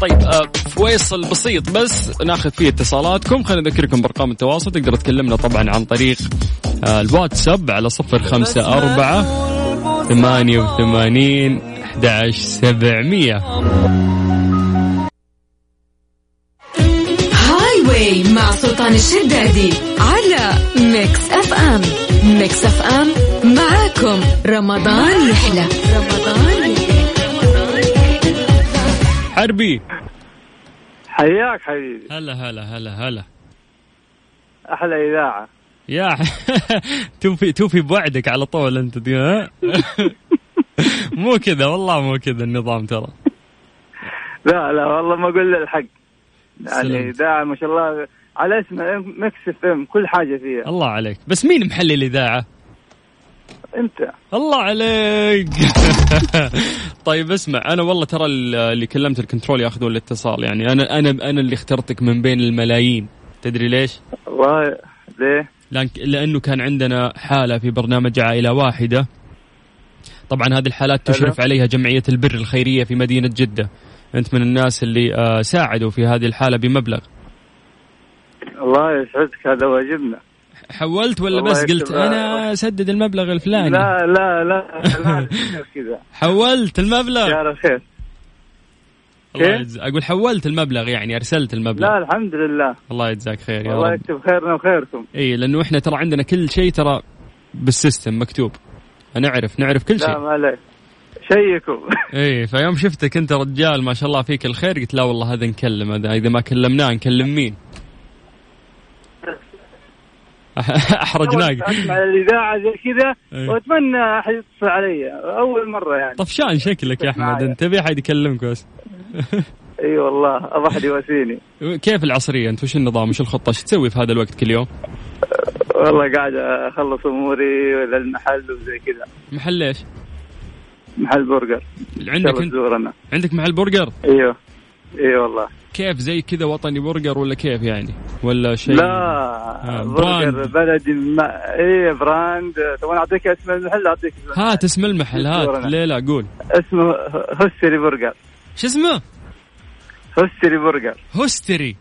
[SPEAKER 2] طيب آه، فويصل بسيط بس ناخذ فيه اتصالاتكم خلينا نذكركم بارقام التواصل تقدر تكلمنا طبعا عن طريق آه، الواتساب على صفر خمسة أربعة ثمانية وثمانين أحد عشر سبعمية
[SPEAKER 1] هاي واي واي مع سلطان الشدادي على ميكس اف ام ميكس اف ام معاكم رمضان يحلى رمضان يحلى
[SPEAKER 2] حربي
[SPEAKER 5] حياك حبيبي
[SPEAKER 2] هلا هلا هلا هلا
[SPEAKER 5] احلى اذاعه
[SPEAKER 2] يا ح- توفي توفي بوعدك على طول انت دي ها مو كذا والله مو كذا النظام ترى
[SPEAKER 5] لا لا والله ما اقول له الحق
[SPEAKER 2] سلام.
[SPEAKER 5] يعني اذاعه ما شاء الله على اسمها مكس اف ام كل حاجه فيها
[SPEAKER 2] الله عليك بس مين محلل الاذاعه
[SPEAKER 5] انت
[SPEAKER 2] الله عليك طيب اسمع انا والله ترى ال- اللي كلمت الكنترول ياخذون الاتصال يعني انا انا انا اللي اخترتك من بين الملايين تدري ليش؟
[SPEAKER 5] والله ليه؟
[SPEAKER 2] لأن- لانه كان عندنا حاله في برنامج عائله واحده طبعا هذه الحالات
[SPEAKER 5] أيوه.
[SPEAKER 2] تشرف عليها جمعيه البر الخيريه في مدينه جده انت من الناس اللي آه، ساعدوا في هذه الحاله بمبلغ
[SPEAKER 5] الله يسعدك هذا واجبنا
[SPEAKER 2] حولت ولا
[SPEAKER 5] الله
[SPEAKER 2] بس قلت
[SPEAKER 5] يكتبها.
[SPEAKER 2] انا اسدد المبلغ الفلاني
[SPEAKER 5] آه، لا لا لا لا كذا
[SPEAKER 2] حولت المبلغ
[SPEAKER 5] يا رب خير
[SPEAKER 2] الله
[SPEAKER 5] كيف؟
[SPEAKER 2] يجز... اقول حولت المبلغ يعني ارسلت المبلغ
[SPEAKER 5] لا الحمد لله
[SPEAKER 2] الله يجزاك خير يا
[SPEAKER 5] الله
[SPEAKER 2] رب
[SPEAKER 5] يكتب خيرنا وخيركم
[SPEAKER 2] اي لانه احنا ترى عندنا كل شيء ترى بالسيستم مكتوب نعرف نعرف كل
[SPEAKER 5] لا
[SPEAKER 2] شيء
[SPEAKER 5] ما عليك شيكوا
[SPEAKER 2] اي فيوم شفتك انت رجال ما شاء الله فيك الخير قلت لا والله هذا نكلم هذا اذا ما كلمناه نكلم مين؟ احرجناك
[SPEAKER 5] اسمع الاذاعه زي كذا
[SPEAKER 2] إيه.
[SPEAKER 5] واتمنى احد يتصل علي اول مره يعني
[SPEAKER 2] طفشان شكلك يا احمد انت تبي احد يكلمك بس
[SPEAKER 5] اي أيوة والله ابغى احد يواسيني
[SPEAKER 2] كيف العصريه انت وش النظام وش الخطه ايش تسوي في هذا الوقت كل يوم؟
[SPEAKER 5] والله قاعد اخلص اموري ولا المحل وزي كذا
[SPEAKER 2] محل ايش؟
[SPEAKER 5] محل برجر ان شاء
[SPEAKER 2] عندك
[SPEAKER 5] الله تزورنا
[SPEAKER 2] عندك محل برجر؟
[SPEAKER 5] ايوه اي والله
[SPEAKER 2] كيف زي كذا وطني برجر ولا كيف يعني؟ ولا شيء
[SPEAKER 5] لا برجر
[SPEAKER 2] آه، براند.
[SPEAKER 5] بلدي ما اي براند طب انا اعطيك اسم المحل اعطيك اسم المحل.
[SPEAKER 2] هات اسم المحل هات ليه لا قول
[SPEAKER 5] اسمه هستري برجر
[SPEAKER 2] شو اسمه؟
[SPEAKER 5] هستري برجر
[SPEAKER 2] هوستري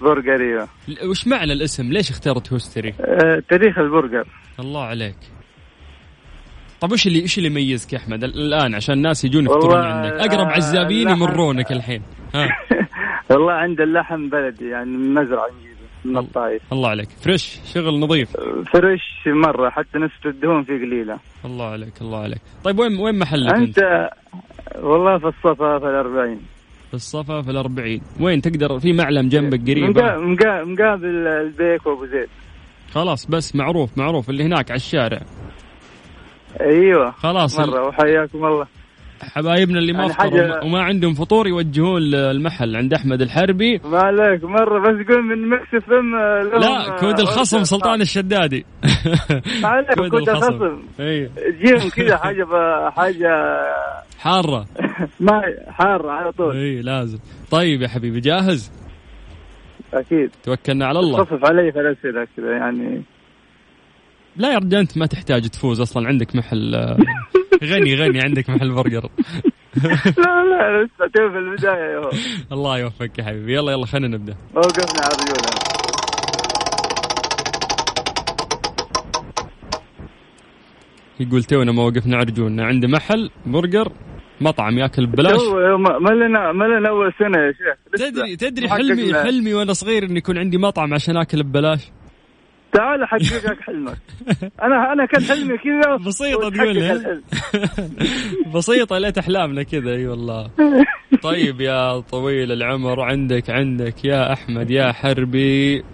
[SPEAKER 5] برجر ايوه
[SPEAKER 2] ل- وش معنى الاسم؟ ليش اخترت هوستري؟
[SPEAKER 5] آه، تاريخ البرجر
[SPEAKER 2] الله عليك طب وش اللي ايش اللي يميزك يا احمد ال- الان عشان الناس يجون
[SPEAKER 5] والله
[SPEAKER 2] يفطرون عندك اقرب
[SPEAKER 5] لا-
[SPEAKER 2] عزابين
[SPEAKER 5] لا-
[SPEAKER 2] يمرونك الحين ها
[SPEAKER 5] والله عند اللحم بلدي يعني من مزرعه نجيبه من
[SPEAKER 2] طيب.
[SPEAKER 5] الطايف
[SPEAKER 2] الله عليك فريش شغل نظيف
[SPEAKER 5] فريش مره حتى نسبه الدهون فيه قليله
[SPEAKER 2] الله عليك الله عليك طيب وين وين محلك انت؟
[SPEAKER 5] انت والله في الصفا في الأربعين
[SPEAKER 2] في الصفا في الأربعين وين تقدر في معلم جنبك
[SPEAKER 5] مقا-
[SPEAKER 2] قريب
[SPEAKER 5] مقا- مقابل البيك وابو زيد
[SPEAKER 2] خلاص بس معروف معروف اللي هناك على الشارع
[SPEAKER 5] ايوه
[SPEAKER 2] خلاص
[SPEAKER 5] مره وحياكم الله
[SPEAKER 2] حبايبنا اللي ما
[SPEAKER 5] يعني
[SPEAKER 2] فطروا
[SPEAKER 5] حاجة-
[SPEAKER 2] وما- وما عندهم فطور يوجهون للمحل عند احمد الحربي
[SPEAKER 5] ما عليك مره بس قول من مكس اف ام آه،
[SPEAKER 2] لا كود الخصم سلطان الشدادي
[SPEAKER 5] ما عليك، كود الخصم.
[SPEAKER 2] اي
[SPEAKER 5] جيهم كذا حاجه ب- حاجه
[SPEAKER 2] حاره
[SPEAKER 5] ما حاره على طول
[SPEAKER 2] اي لازم طيب يا حبيبي جاهز
[SPEAKER 5] اكيد
[SPEAKER 2] توكلنا على الله
[SPEAKER 5] خفف علي في الاسئله كذا يعني
[SPEAKER 2] لا يا رجال انت ما تحتاج تفوز اصلا عندك محل آه، غني غني عندك محل برجر
[SPEAKER 5] لا لا لسه تو في البدايه يا هو.
[SPEAKER 2] الله يوفقك يا حبيبي يلا يلا خلينا نبدا
[SPEAKER 5] موقفنا على رجولنا
[SPEAKER 2] يقول تونا ما وقفنا على رجولنا عنده محل برجر مطعم ياكل ببلاش
[SPEAKER 5] تو ما ما لنا ما لنا اول سنه يا شيخ لسه.
[SPEAKER 2] تدري تدري
[SPEAKER 5] محقق
[SPEAKER 2] حلمي
[SPEAKER 5] لا.
[SPEAKER 2] حلمي وانا صغير اني يكون عندي مطعم عشان اكل ببلاش
[SPEAKER 5] تعال احقق لك حلمك انا انا كان حلمي كذا
[SPEAKER 2] بسيطة
[SPEAKER 5] وتحقق
[SPEAKER 2] تقول لي.
[SPEAKER 5] الحلم.
[SPEAKER 2] بسيطة ليت احلامنا كذا اي والله طيب يا طويل العمر عندك عندك يا احمد يا حربي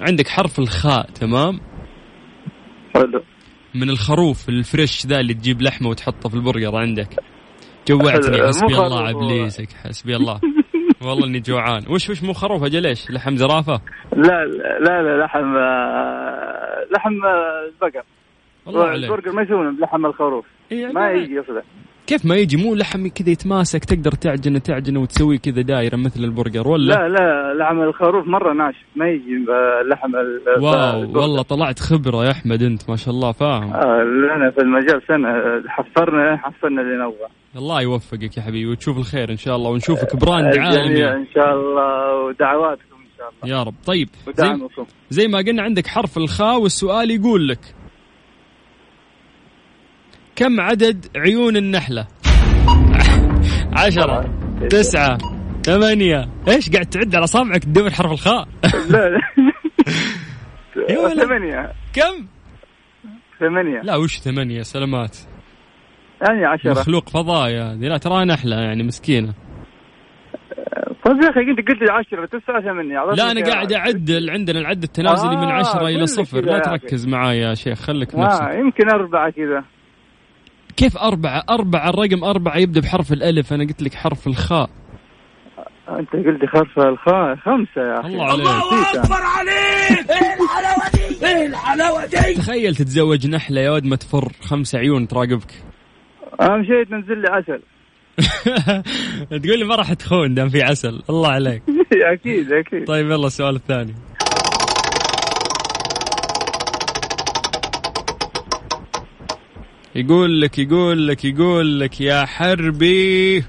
[SPEAKER 2] عندك حرف الخاء تمام
[SPEAKER 5] حلو
[SPEAKER 2] من الخروف الفريش ذا اللي تجيب لحمه وتحطه في البرجر عندك جوعتني
[SPEAKER 5] مو
[SPEAKER 2] حسبي
[SPEAKER 5] خروف
[SPEAKER 2] الله
[SPEAKER 5] والله.
[SPEAKER 2] ابليسك حسبي الله والله اني جوعان وش وش مو خروف اجل ايش لحم زرافه
[SPEAKER 5] لا لا لا لحم آه، لحم آه، البقر
[SPEAKER 2] والله عليك
[SPEAKER 5] البرجر ما يسوونه بلحم الخروف
[SPEAKER 2] إي
[SPEAKER 5] ما
[SPEAKER 2] أنا-
[SPEAKER 5] يجي اصلا
[SPEAKER 2] كيف ما يجي مو لحم كذا يتماسك تقدر تعجنه تعجنه وتسويه كذا دايره مثل البرجر ولا
[SPEAKER 5] لا لا لحم الخروف مره ناشف ما يجي آه، لحم ال-
[SPEAKER 2] واو
[SPEAKER 5] البرجر.
[SPEAKER 2] والله طلعت خبره يا احمد انت ما شاء الله فاهم
[SPEAKER 5] آه، لنا في المجال سنه آه، حفرنا حصلنا اللي نبغى
[SPEAKER 2] الله يوفقك يا حبيبي وتشوف الخير ان شاء الله
[SPEAKER 5] آه،
[SPEAKER 2] ونشوفك براند
[SPEAKER 5] الجميع
[SPEAKER 2] عالمي
[SPEAKER 5] ان يعني شاء الله ودعواتكم ان شاء الله
[SPEAKER 2] يا رب طيب زي,
[SPEAKER 5] ودعمكم
[SPEAKER 2] زي ما قلنا عندك حرف الخاء والسؤال يقول لك كم عدد عيون النحله عشرة تسعة ثمانية ايش قاعد تعد على صابعك تدور حرف الخاء
[SPEAKER 5] لا لا
[SPEAKER 2] يا ولد.
[SPEAKER 5] ثمانية
[SPEAKER 2] كم؟
[SPEAKER 5] ثمانية
[SPEAKER 2] لا وش ثمانية سلامات
[SPEAKER 5] يعني عشرة
[SPEAKER 2] مخلوق فضايا لا ترى نحلة يعني مسكينة
[SPEAKER 5] طيب يا أخي أنت قلت لي عشرة تسعة ثمانية
[SPEAKER 2] لا أنا قاعد أعد عندنا العد التنازلي من
[SPEAKER 5] آه،
[SPEAKER 2] عشرة إلى
[SPEAKER 5] كله
[SPEAKER 2] صفر
[SPEAKER 5] كذا
[SPEAKER 2] لا
[SPEAKER 5] يا أخي.
[SPEAKER 2] تركز معاي يا شيخ خليك
[SPEAKER 5] آه
[SPEAKER 2] نفسك
[SPEAKER 5] يمكن أربعة كذا
[SPEAKER 2] كيف أربعة أربعة الرقم أربعة يبدأ بحرف الألف أنا قلت لك حرف الخاء
[SPEAKER 5] أنت قلت لي خرف الخاء خمسة يا أخي
[SPEAKER 2] الله إيه عليك
[SPEAKER 5] نسيت أنا.
[SPEAKER 2] تخيل تتزوج نحلة يا ود ما تفر خمس عيون تراقبك
[SPEAKER 5] أهم شيء تنزل لي عسل
[SPEAKER 2] تقول لي ما راح تخون دام في عسل الله عليك
[SPEAKER 5] أكيد أكيد
[SPEAKER 2] طيب يلا السؤال الثاني يقول لك يقول لك يقول لك يا حربي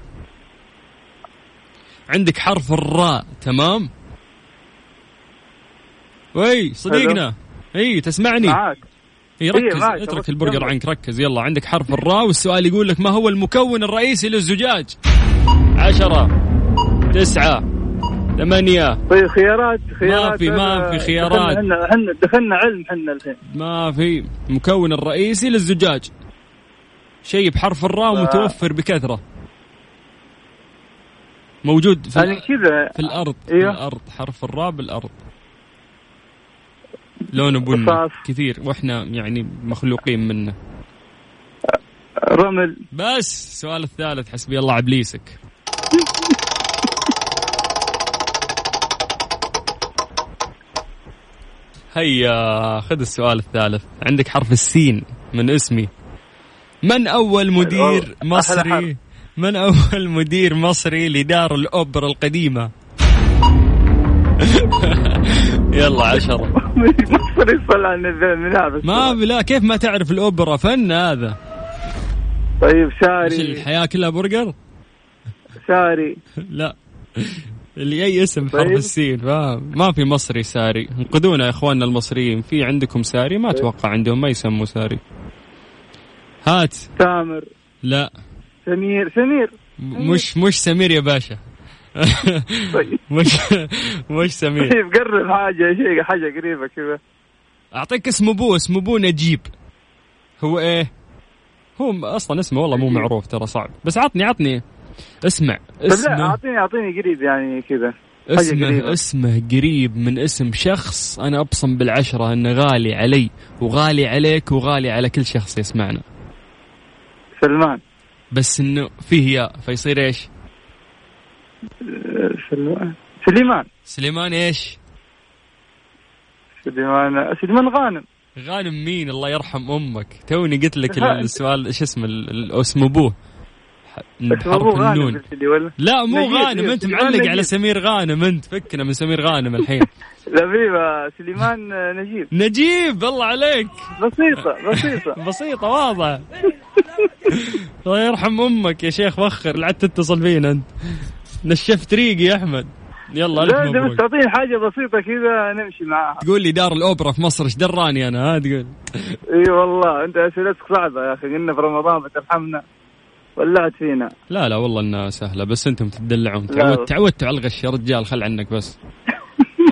[SPEAKER 2] عندك حرف الراء تمام وي صديقنا اي تسمعني
[SPEAKER 5] معاك
[SPEAKER 2] اي
[SPEAKER 5] إيه،
[SPEAKER 2] ركز
[SPEAKER 5] معك.
[SPEAKER 2] اترك
[SPEAKER 5] بس
[SPEAKER 2] البرجر
[SPEAKER 5] يلا.
[SPEAKER 2] عنك ركز يلا عندك حرف الراء والسؤال يقول لك ما هو المكون الرئيسي للزجاج عشرة تسعة ثمانية
[SPEAKER 5] طيب خيارات خيارات
[SPEAKER 2] ما في- ما في خيارات.
[SPEAKER 5] احنا احنا دخلنا علم احنا الحين
[SPEAKER 2] ما في المكون الرئيسي للزجاج شيء بحرف الراء
[SPEAKER 5] آه.
[SPEAKER 2] متوفر بكثرة موجود في,
[SPEAKER 5] يعني
[SPEAKER 2] الأ-
[SPEAKER 5] كذا
[SPEAKER 2] في الأرض في
[SPEAKER 5] إيوه.
[SPEAKER 2] الأرض حرف الراء بالأرض لونه بني
[SPEAKER 5] رصاص.
[SPEAKER 2] كثير واحنا يعني مخلوقين منه
[SPEAKER 5] رمل
[SPEAKER 2] بس السؤال الثالث حسبي الله عبليسك هيا خذ السؤال الثالث عندك حرف السين من اسمي من أول مدير
[SPEAKER 5] أحلى
[SPEAKER 2] مصري
[SPEAKER 5] حرف.
[SPEAKER 2] من أول مدير مصري لدار الأوبرا القديمة يلا عشرة
[SPEAKER 5] مصر يصل عن الذهن من هذا
[SPEAKER 2] ما
[SPEAKER 5] السؤال.
[SPEAKER 2] بلا كيف ما تعرف الأوبرا فن هذا
[SPEAKER 5] طيب
[SPEAKER 2] مش
[SPEAKER 5] شاري
[SPEAKER 2] الحياة كلها برجر
[SPEAKER 5] شاري
[SPEAKER 2] لا اللي اي اسم بحرف
[SPEAKER 5] طيب.
[SPEAKER 2] السين فاهم ما في مصري ساري انقذونا يا اخواننا المصريين في عندكم ساري
[SPEAKER 5] طيب.
[SPEAKER 2] ما اتوقع عندهم ما يسموا ساري هات
[SPEAKER 5] تامر
[SPEAKER 2] لا
[SPEAKER 5] سمير سمير
[SPEAKER 2] م- مش مش سمير يا باشا إيه.
[SPEAKER 5] طيب
[SPEAKER 2] مش مش سمير
[SPEAKER 5] طيب قرب حاجه شيء حاجه قريبه كذا طيب،
[SPEAKER 2] اعطيك اسم ابوه اسم ابوه نجيب هو ايه هو م- اصلا اسمه والله مو معروف ترى صعب بس عطني عطني اسمع
[SPEAKER 5] طيب لا
[SPEAKER 2] اسمه
[SPEAKER 5] اعطيني اعطيني قريب يعني كذا حاجة
[SPEAKER 2] اسمه
[SPEAKER 5] قريبة.
[SPEAKER 2] اسمه قريب من اسم شخص انا ابصم بالعشره انه غالي علي وغالي عليك وغالي على كل شخص يسمعنا
[SPEAKER 5] سلمان
[SPEAKER 2] بس انه فيه ياء فيصير ايش؟
[SPEAKER 5] آه، سلمان سليمان
[SPEAKER 2] سليمان ايش؟
[SPEAKER 5] سليمان سليمان غانم
[SPEAKER 2] غانم مين الله يرحم امك توني قلت لك
[SPEAKER 5] ها، أنت-
[SPEAKER 2] السؤال شو اسمه ال- ال- اسم ابوه ح-
[SPEAKER 5] بس ابوه
[SPEAKER 2] حرف
[SPEAKER 5] غانم
[SPEAKER 2] النون
[SPEAKER 5] قلت لي ولا
[SPEAKER 2] لا مو
[SPEAKER 5] نجيب،
[SPEAKER 2] غانم
[SPEAKER 5] نجيب،
[SPEAKER 2] انت
[SPEAKER 5] سليمان
[SPEAKER 2] معلق على
[SPEAKER 5] نجيب.
[SPEAKER 2] سمير غانم انت فكنا من سمير غانم الحين
[SPEAKER 5] لا بيبا سليمان آه، نجيب
[SPEAKER 2] نجيب الله عليك
[SPEAKER 5] بسيطه بسيطه
[SPEAKER 2] بسيطة واضحة الله يرحم امك يا شيخ وخر لا عاد تتصل فينا انت نشفت ريقي يا احمد يلا
[SPEAKER 5] لا
[SPEAKER 2] الف
[SPEAKER 5] انت بس
[SPEAKER 2] مبروك
[SPEAKER 5] تعطيني حاجه بسيطه كذا نمشي معاها
[SPEAKER 2] تقول لي دار الاوبرا في مصر ايش دراني انا ها تقول
[SPEAKER 5] اي والله انت اسئلتك صعبه يا اخي قلنا في رمضان بترحمنا ولعت فينا
[SPEAKER 2] لا لا والله انها سهلة بس انتم تدلعون
[SPEAKER 5] لا.
[SPEAKER 2] تعودت تعودت على الغش يا رجال خل عنك بس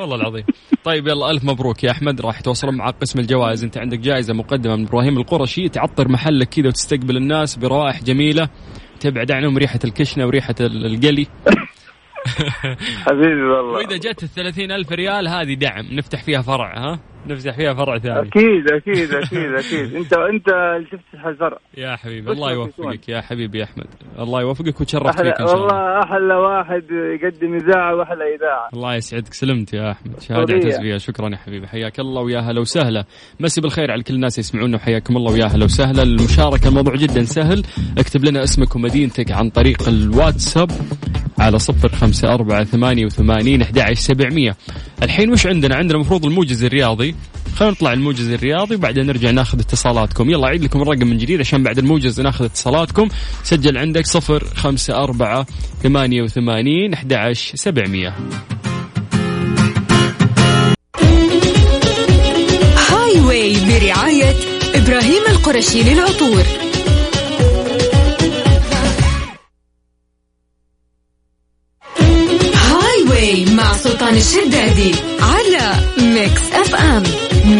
[SPEAKER 2] والله العظيم طيب يلا الف مبروك يا احمد راح يتواصلون مع قسم الجوائز انت عندك جائزه مقدمه من ابراهيم القرشي تعطر محلك كذا وتستقبل الناس بروائح جميله تبعد عنهم ريحه الكشنه وريحه ال- القلي
[SPEAKER 5] حبيبي والله
[SPEAKER 2] واذا جت ال 30 الف ريال هذه دعم نفتح فيها فرع ها نفتح فيها فرع ثاني
[SPEAKER 5] اكيد اكيد اكيد اكيد انت انت اللي تفتح الزرع
[SPEAKER 2] يا حبيبي
[SPEAKER 5] بس
[SPEAKER 2] الله
[SPEAKER 5] ما في
[SPEAKER 2] يوفقك يا حبيبي يا احمد الله يوفقك وتشرف
[SPEAKER 5] احلى
[SPEAKER 2] فيك ان شاء الله
[SPEAKER 5] والله احلى واحد يقدم اذاعه واحلى اذاعه
[SPEAKER 2] الله يسعدك سلمت يا احمد شهاده
[SPEAKER 5] طبيعي.
[SPEAKER 2] اعتز فيها شكرا يا حبيبي حياك الله ويا هلا وسهلا مسي بالخير على كل الناس يسمعونا وحياكم الله ويا هلا وسهلا المشاركه الموضوع جدا سهل اكتب لنا اسمك ومدينتك عن طريق الواتساب على صفر خمسة أربعة ثمانية وثمانين أحد عشر سبعمية الحين وش عندنا عندنا المفروض الموجز الرياضي خلينا نطلع الموجز الرياضي وبعدين نرجع ناخذ اتصالاتكم يلا أعيد لكم الرقم من جديد عشان بعد الموجز ناخذ اتصالاتكم سجل عندك صفر خمسة أربعة ثمانية وثمانين أحد عشر سبعمية
[SPEAKER 1] هاي واي برعاية إبراهيم القرشي للعطور الشدادي على ميكس اف ام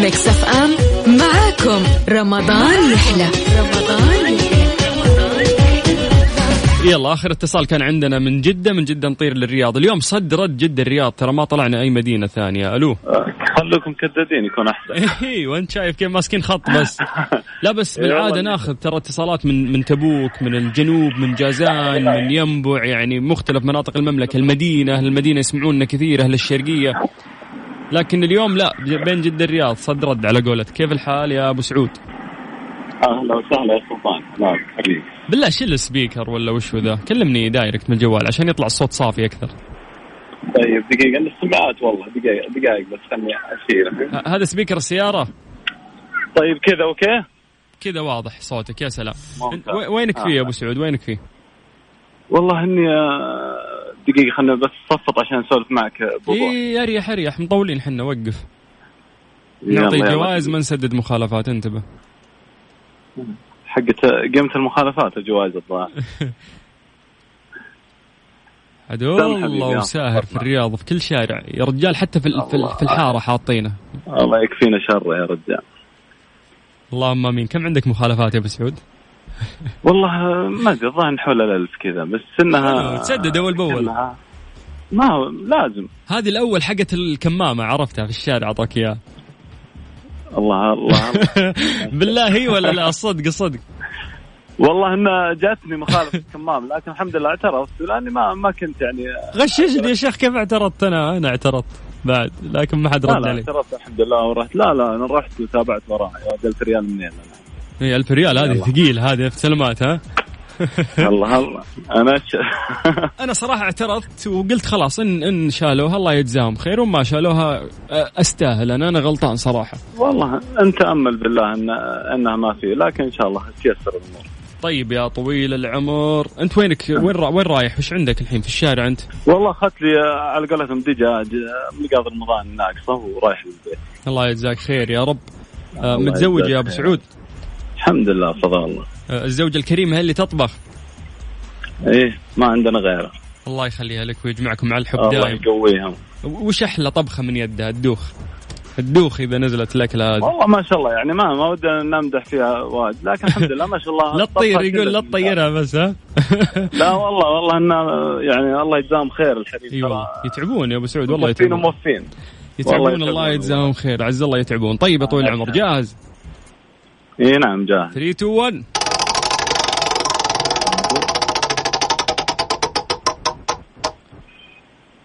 [SPEAKER 1] ميكس اف ام معاكم رمضان يحلى رمضان يحلى
[SPEAKER 2] يلا اخر اتصال كان عندنا من جده من جده نطير للرياض اليوم صدرت جده الرياض ترى ما طلعنا اي مدينه ثانيه الو
[SPEAKER 3] خلوكم كدادين يكون احسن
[SPEAKER 2] اي وانت إيه، شايف كيف ماسكين خط بس لا بس بالعاده ناخذ ترى اتصالات من من تبوك من الجنوب من جازان من ينبع يعني مختلف مناطق المملكه المدينه اهل المدينه يسمعونا كثير اهل الشرقيه لكن اليوم لا ج- بين جده الرياض صد رد على قولتك كيف الحال يا ابو سعود
[SPEAKER 3] اهلا وسهلا يا سلطان نعم حبيبي
[SPEAKER 2] بالله شيل السبيكر ولا وش هو ذا كلمني دايركت من الجوال عشان يطلع الصوت صافي اكثر
[SPEAKER 3] طيب دقيقه السماعات والله دقيقه دقائق بس خلني اشيلها
[SPEAKER 2] ه- هذا سبيكر السياره
[SPEAKER 3] طيب كذا اوكي
[SPEAKER 2] كذا واضح صوتك يا سلام
[SPEAKER 3] ممتاز.
[SPEAKER 2] وين- وينك فيه يا ابو
[SPEAKER 3] آه.
[SPEAKER 2] سعود وينك فيه
[SPEAKER 3] والله اني آه، دقيقه خلنا بس صفط عشان اسولف معك آه، بوضوح
[SPEAKER 2] اي اريح اريح مطولين حنا وقف
[SPEAKER 3] يلا،
[SPEAKER 2] نعطي
[SPEAKER 3] يلا.
[SPEAKER 2] جوائز ما نسدد مخالفات انتبه
[SPEAKER 3] حقت قيمه آه، المخالفات الجوائز الظاهر
[SPEAKER 2] عدو
[SPEAKER 3] سلام حبيبي،
[SPEAKER 2] الله
[SPEAKER 3] يلا.
[SPEAKER 2] وساهر في الرياض في كل شارع يا رجال حتى في ال- في ال-
[SPEAKER 3] الله.
[SPEAKER 2] في الحاره حاطينه
[SPEAKER 3] الله يكفينا شر يا رجال
[SPEAKER 2] اللهم امين كم عندك مخالفات يا ابو سعود؟
[SPEAKER 3] والله آه، ما ادري الظاهر حول الالف كذا بس انها
[SPEAKER 2] تسدد أول بأول.
[SPEAKER 3] إنها- ما هو لازم
[SPEAKER 2] هذه الاول حقت الكمامه عرفتها في الشارع اعطاك اياها
[SPEAKER 3] الله الله الله.
[SPEAKER 2] بالله هي ولا لا الصدق الصدق
[SPEAKER 3] والله ان جاتني مخالفه الكمام لكن الحمد لله اعترفت لاني ما ما كنت يعني
[SPEAKER 2] غششني يا شيخ كيف اعترضت انا انا اعترضت بعد لكن ما حد
[SPEAKER 3] لا
[SPEAKER 2] رد
[SPEAKER 3] لا
[SPEAKER 2] علي
[SPEAKER 3] اعترفت الحمد لله ورحت لا لا انا رحت وتابعت وراها يا قلت ريال منين
[SPEAKER 2] هي 1000 ريال هذه ثقيل هذه في سلمات ها
[SPEAKER 3] أنا. الله الله انا ش...
[SPEAKER 2] انا صراحه اعترضت وقلت خلاص ان ان شالوها الله يجزاهم خير وما شالوها أ- استاهل انا انا غلطان صراحه
[SPEAKER 3] والله انت امل بالله ان انها ما في لكن ان شاء الله تيسر الامور
[SPEAKER 2] طيب يا طويل العمر انت وينك وين را... وين رايح وش عندك الحين في الشارع انت
[SPEAKER 3] والله اخذت لي على قولتهم دجاج مقاض رمضان ناقصه ورايح للبيت
[SPEAKER 2] الله يجزاك خير يا رب آه
[SPEAKER 3] الله
[SPEAKER 2] متزوج
[SPEAKER 3] يجزاك
[SPEAKER 2] يا ابو
[SPEAKER 3] خير.
[SPEAKER 2] سعود
[SPEAKER 3] الحمد لله فضل الله
[SPEAKER 2] آه الزوجه الكريمه هي اللي تطبخ
[SPEAKER 3] ايه ما عندنا غيره
[SPEAKER 2] الله يخليها لك ويجمعكم مع الحب
[SPEAKER 3] الله
[SPEAKER 2] دائم
[SPEAKER 3] يقويهم
[SPEAKER 2] وش احلى طبخه من يدها الدوخ الدوخ اذا نزلت الاكله هذه
[SPEAKER 3] والله ما شاء الله يعني ما ما ودنا نمدح فيها وايد لكن الحمد لله ما شاء الله
[SPEAKER 2] لا تطير
[SPEAKER 3] الطبخة
[SPEAKER 2] يقول لا
[SPEAKER 3] كلها
[SPEAKER 2] تطيرها بس ها
[SPEAKER 3] لا والله والله انه يعني الله يجزاهم خير الحبيب
[SPEAKER 2] اي والله أيوة. يتعبون يا ابو سعود والله
[SPEAKER 3] موفين
[SPEAKER 2] يتعبون
[SPEAKER 3] وموفين والله
[SPEAKER 2] يتعبون
[SPEAKER 3] يتعبون
[SPEAKER 2] الله
[SPEAKER 3] والله.
[SPEAKER 2] يجزاهم خير عز الله يتعبون طيب يا طويل العمر جاهز
[SPEAKER 3] اي نعم جاهز
[SPEAKER 2] 3 2 1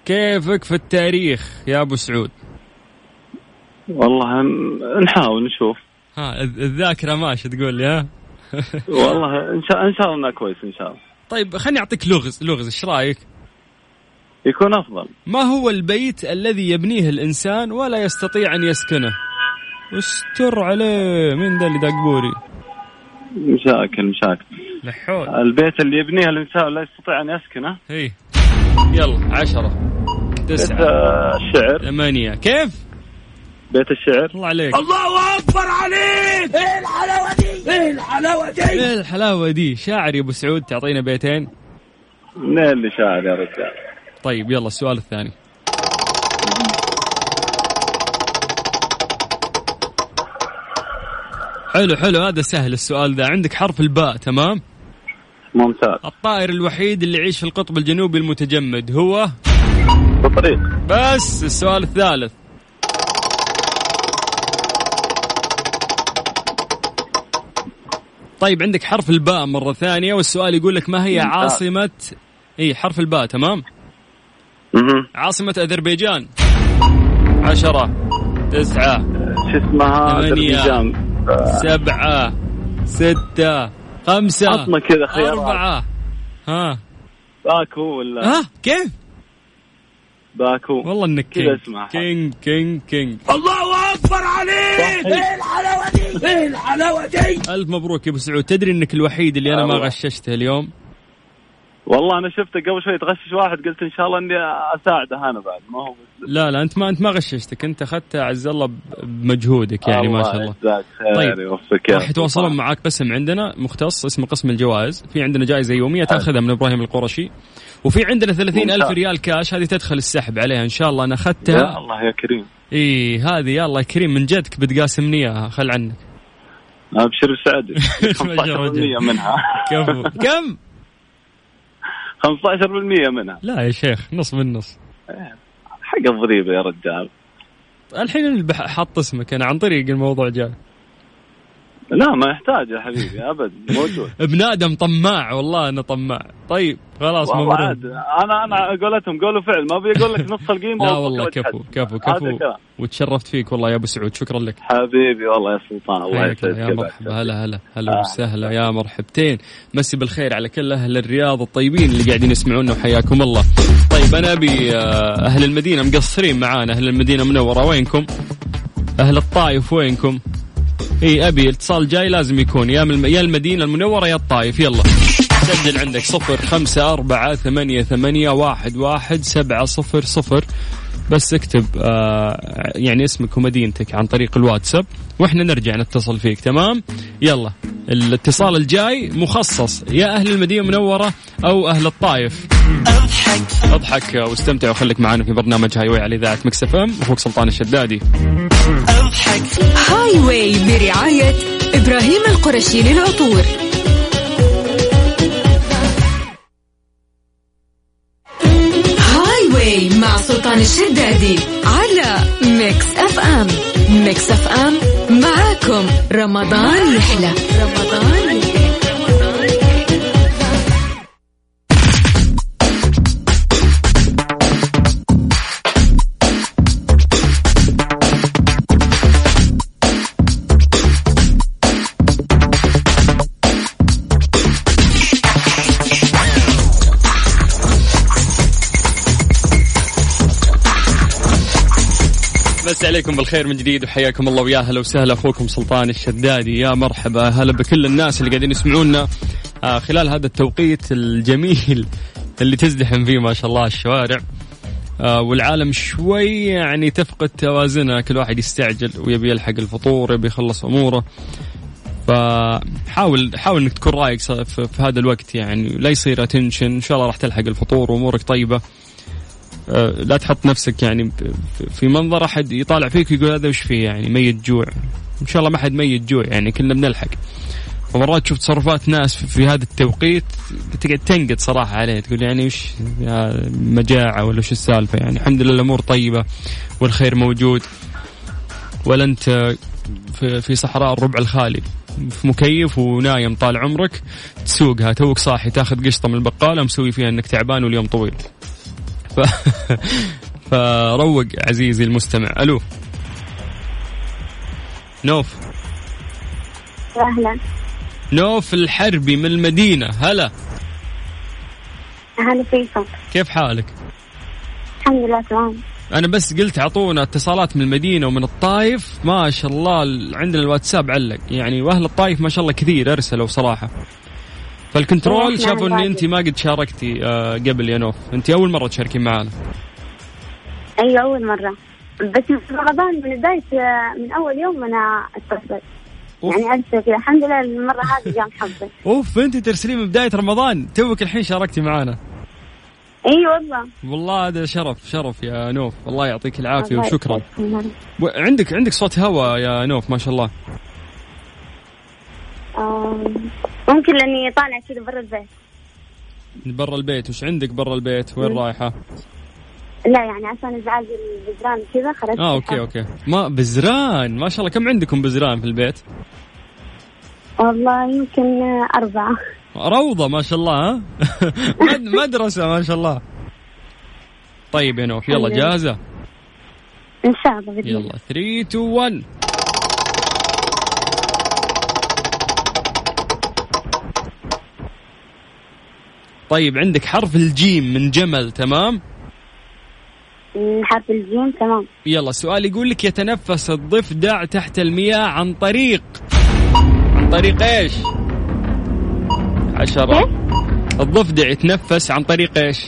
[SPEAKER 2] كيفك في التاريخ يا ابو سعود
[SPEAKER 3] والله ن- نحاول نشوف
[SPEAKER 2] ها الذ- الذاكره ماشي تقول لي ها
[SPEAKER 3] والله ان شاء ان شاء الله انه كويس ان شاء الله
[SPEAKER 2] طيب خليني اعطيك لغز لغز ايش رايك
[SPEAKER 3] يكون افضل
[SPEAKER 2] ما هو البيت الذي يبنيه الانسان ولا يستطيع ان يسكنه استر عليه مين ذا اللي دق بوري
[SPEAKER 3] مشاكل مشاكل
[SPEAKER 2] لحول
[SPEAKER 3] البيت اللي يبنيه الانسان لا يستطيع ان يسكنه
[SPEAKER 2] هي يلا عشرة
[SPEAKER 3] بيت
[SPEAKER 2] تسعة
[SPEAKER 3] آه، الشعر
[SPEAKER 2] ثمانية كيف؟
[SPEAKER 3] بيت الشعر
[SPEAKER 2] الله عليك الله اكبر عليك ايه الحلاوه دي ايه الحلاوه دي ايه الحلاوه دي شاعر يا ابو سعود تعطينا بيتين
[SPEAKER 3] منين اللي شاعر يا رجال
[SPEAKER 2] طيب يلا السؤال الثاني حلو حلو هذا سهل السؤال ذا عندك حرف الباء تمام
[SPEAKER 3] ممتاز
[SPEAKER 2] الطائر الوحيد اللي يعيش في القطب الجنوبي المتجمد هو
[SPEAKER 3] بطريق
[SPEAKER 2] بس السؤال الثالث طيب عندك حرف الباء مرة ثانية والسؤال يقول لك ما هي عاصمة اي حرف الباء تمام
[SPEAKER 3] مهم.
[SPEAKER 2] عاصمة أذربيجان عشرة تسعة
[SPEAKER 3] شو اسمها
[SPEAKER 2] ثمانية.
[SPEAKER 3] أذربيجان.
[SPEAKER 2] سبعة ستة خمسة
[SPEAKER 3] عطنا كذا خيارات
[SPEAKER 2] أربعة ها
[SPEAKER 3] باكو ولا
[SPEAKER 2] ها كيف
[SPEAKER 3] باكو
[SPEAKER 2] أه؟ والله انك
[SPEAKER 3] كذا
[SPEAKER 2] كينج
[SPEAKER 3] اسمعها.
[SPEAKER 2] كينج كينج كينج
[SPEAKER 3] صحيح.
[SPEAKER 2] إيه ألف مبروك يا أبو سعود تدري أنك الوحيد اللي أنا ما
[SPEAKER 3] الله.
[SPEAKER 2] غششته اليوم
[SPEAKER 3] والله انا شفتك قبل شوي تغشش واحد قلت ان شاء الله اني اساعده انا بعد ما هو بس
[SPEAKER 2] لا لا أنت ما أنت ما غششتك أنت أخذتها عز الله ب- بمجهودك يعني ما شاء الله
[SPEAKER 3] يجزاك خير
[SPEAKER 2] طيب.
[SPEAKER 3] طيب. يوفقك يا
[SPEAKER 2] راح يتواصلون
[SPEAKER 3] سلطان.
[SPEAKER 2] معك باسم عندنا مختص اسمه قسم الجوائز في عندنا جائزه يوميه تاخذها من ابراهيم القرشي وفي عندنا 30 ألف
[SPEAKER 7] ممتاز.
[SPEAKER 2] ريال كاش هذه تدخل السحب عليها إن شاء الله أنا
[SPEAKER 7] يا
[SPEAKER 2] أخذتها
[SPEAKER 7] الله يا كريم
[SPEAKER 2] إي هذه يا الله يا كريم من جدك بتقاسمني إياها خل عنك
[SPEAKER 7] ابشر سعدك
[SPEAKER 2] ما شاء الله.
[SPEAKER 7] 15% منها
[SPEAKER 2] كفو كم؟
[SPEAKER 7] 15% منها
[SPEAKER 2] لا يا شيخ نص من نص
[SPEAKER 7] حق الضريبه يا رجال
[SPEAKER 2] الحين البح- حط اسمك أنا عن طريق الموضوع جاي
[SPEAKER 7] لا ما يحتاج يا حبيبي ابد موجود
[SPEAKER 2] ابن آدم طماع والله أنا طماع طيب خلاص
[SPEAKER 7] والله
[SPEAKER 2] مبروك
[SPEAKER 7] عاد انا انا قولتهم قول وفعل ما بيقول لك نص القيمه
[SPEAKER 2] لا
[SPEAKER 7] وفوق
[SPEAKER 2] آه، والله
[SPEAKER 7] وجه
[SPEAKER 2] كفو
[SPEAKER 7] حد.
[SPEAKER 2] كفو
[SPEAKER 7] هذا
[SPEAKER 2] كفو
[SPEAKER 7] الكلام.
[SPEAKER 2] وتشرفت فيك والله يا ابو سعود شكرا لك
[SPEAKER 7] حبيبي والله يا سلطان الله
[SPEAKER 2] حياك
[SPEAKER 7] يسعدك
[SPEAKER 2] الله،
[SPEAKER 7] آه.
[SPEAKER 2] يا مرحبا هلا هلا هلا وسهلا يا مرحبتين مسي بالخير على كل اهل الرياض الطيبين اللي قاعدين يسمعونا وحياكم الله طيب انا ابي آه، اهل المدينه مقصرين معانا اهل المدينه منوره وينكم اهل الطايف وينكم اي ابي اتصال جاي لازم يكون يا من- يا المدينه المنوره يا الطايف يلا سجل عندك صفر خمسة أربعة ثمانية ثمانية واحد واحد سبعة صفر صفر بس اكتب آه يعني اسمك ومدينتك عن طريق الواتساب واحنا نرجع نتصل فيك تمام يلا الاتصال الجاي مخصص يا اهل المدينه المنوره او اهل الطايف اضحك اضحك واستمتع وخليك معنا في برنامج هاي واي على اذاعه مكسف ام اخوك سلطان الشدادي
[SPEAKER 1] هاي واي برعاية إبراهيم القرشي للعطور هاي واي مع سلطان الشدادي على ميكس أف أم ميكس أف أم معاكم رمضان يحلى رمضان يحلى
[SPEAKER 2] بس عليكم بالخير من جديد وحياكم الله ويا هلا وسهلا اخوكم سلطان الشدادي يا مرحبا هلا بكل الناس اللي قاعدين يسمعونا آه، خلال هذا التوقيت الجميل اللي تزدحم فيه ما شاء الله الشوارع آه، والعالم شوي يعني تفقد توازنها كل واحد يستعجل ويبي يلحق الفطور يبي يخلص اموره فحاول حاول انك تكون رايق ص- في في هذا الوقت يعني لا يصير اتنشن ان شاء الله راح تلحق الفطور وامورك طيبه آه، لا تحط نفسك يعني ب- في منظر احد يطالع فيك ويقول هذا وش فيه يعني ميت جوع ان شاء الله ما حد ميت جوع يعني كلنا بنلحق ومرات تشوف تصرفات ناس في- في هذا التوقيت تقعد تنقد صراحه عليه تقول يعني وش يا مجاعه ولا وش السالفه يعني الحمد لله الامور طيبه والخير موجود ولا انت في, في صحراء الربع الخالي في مكيف ونايم طال عمرك تسوقها توك صاحي تاخذ قشطه من البقاله مسوي فيها انك تعبان واليوم طويل ف... فروق عزيزي المستمع الو نوف
[SPEAKER 8] اهلا
[SPEAKER 2] نوف الحربي من المدينه هلا
[SPEAKER 8] اهلا فيكم
[SPEAKER 2] كيف حالك
[SPEAKER 8] الحمد لله تمام
[SPEAKER 2] انا بس قلت اعطونا اتصالات من المدينه ومن الطايف ما شاء الله ال- عندنا الواتساب علق يعني واهل الطايف ما شاء الله كثير ارسلوا صراحه فالكنترول
[SPEAKER 8] إحنا
[SPEAKER 2] شافوا ان
[SPEAKER 8] عبادي.
[SPEAKER 2] انت ما قد شاركتي آه، قبل يا نوف انت اول مره تشاركين معنا
[SPEAKER 8] اي اول مره أيوة، بس في رمضان من بداية من أول يوم أنا أتصل
[SPEAKER 2] أوف.
[SPEAKER 8] يعني أرسل كذا الحمد لله المرة هذه جاء محبة
[SPEAKER 2] اوف انت ترسلين من بدايه رمضان توك الحين شاركتي معنا
[SPEAKER 8] اي والله
[SPEAKER 2] والله هذا شرف شرف يا نوف الله يعطيك العافيه
[SPEAKER 8] الله
[SPEAKER 2] وشكرا
[SPEAKER 8] يسعدكم.
[SPEAKER 2] و- عندك عندك صوت هوا يا نوف ما شاء الله
[SPEAKER 8] آم، آه، ممكن لأني طالعة كذا برا البيت
[SPEAKER 2] برا البيت وش عندك برا البيت وين رايحه
[SPEAKER 8] لا يعني عشان ازعاج الجدران كذا خرجت
[SPEAKER 2] اه اوكي اوكي ما بزران ما شاء الله كم عندكم بزران في البيت
[SPEAKER 8] والله يمكن آه، أربعة
[SPEAKER 2] روضه ما شاء الله ها مد- مدرسه ما شاء الله طيب يا نوف يلا
[SPEAKER 8] الحمد لله.
[SPEAKER 2] جاهزه
[SPEAKER 8] إن شاء الله بإذن الله
[SPEAKER 2] يلا 3 2 1 طيب عندك حرف الجيم من جمل تمام
[SPEAKER 8] حرف الجيم تمام
[SPEAKER 2] يلا سؤال يقول لك يتنفس الضفدع تحت المياه عن طريق عن طريق ايش؟ عشرة الضفدع يتنفس عن طريق ايش؟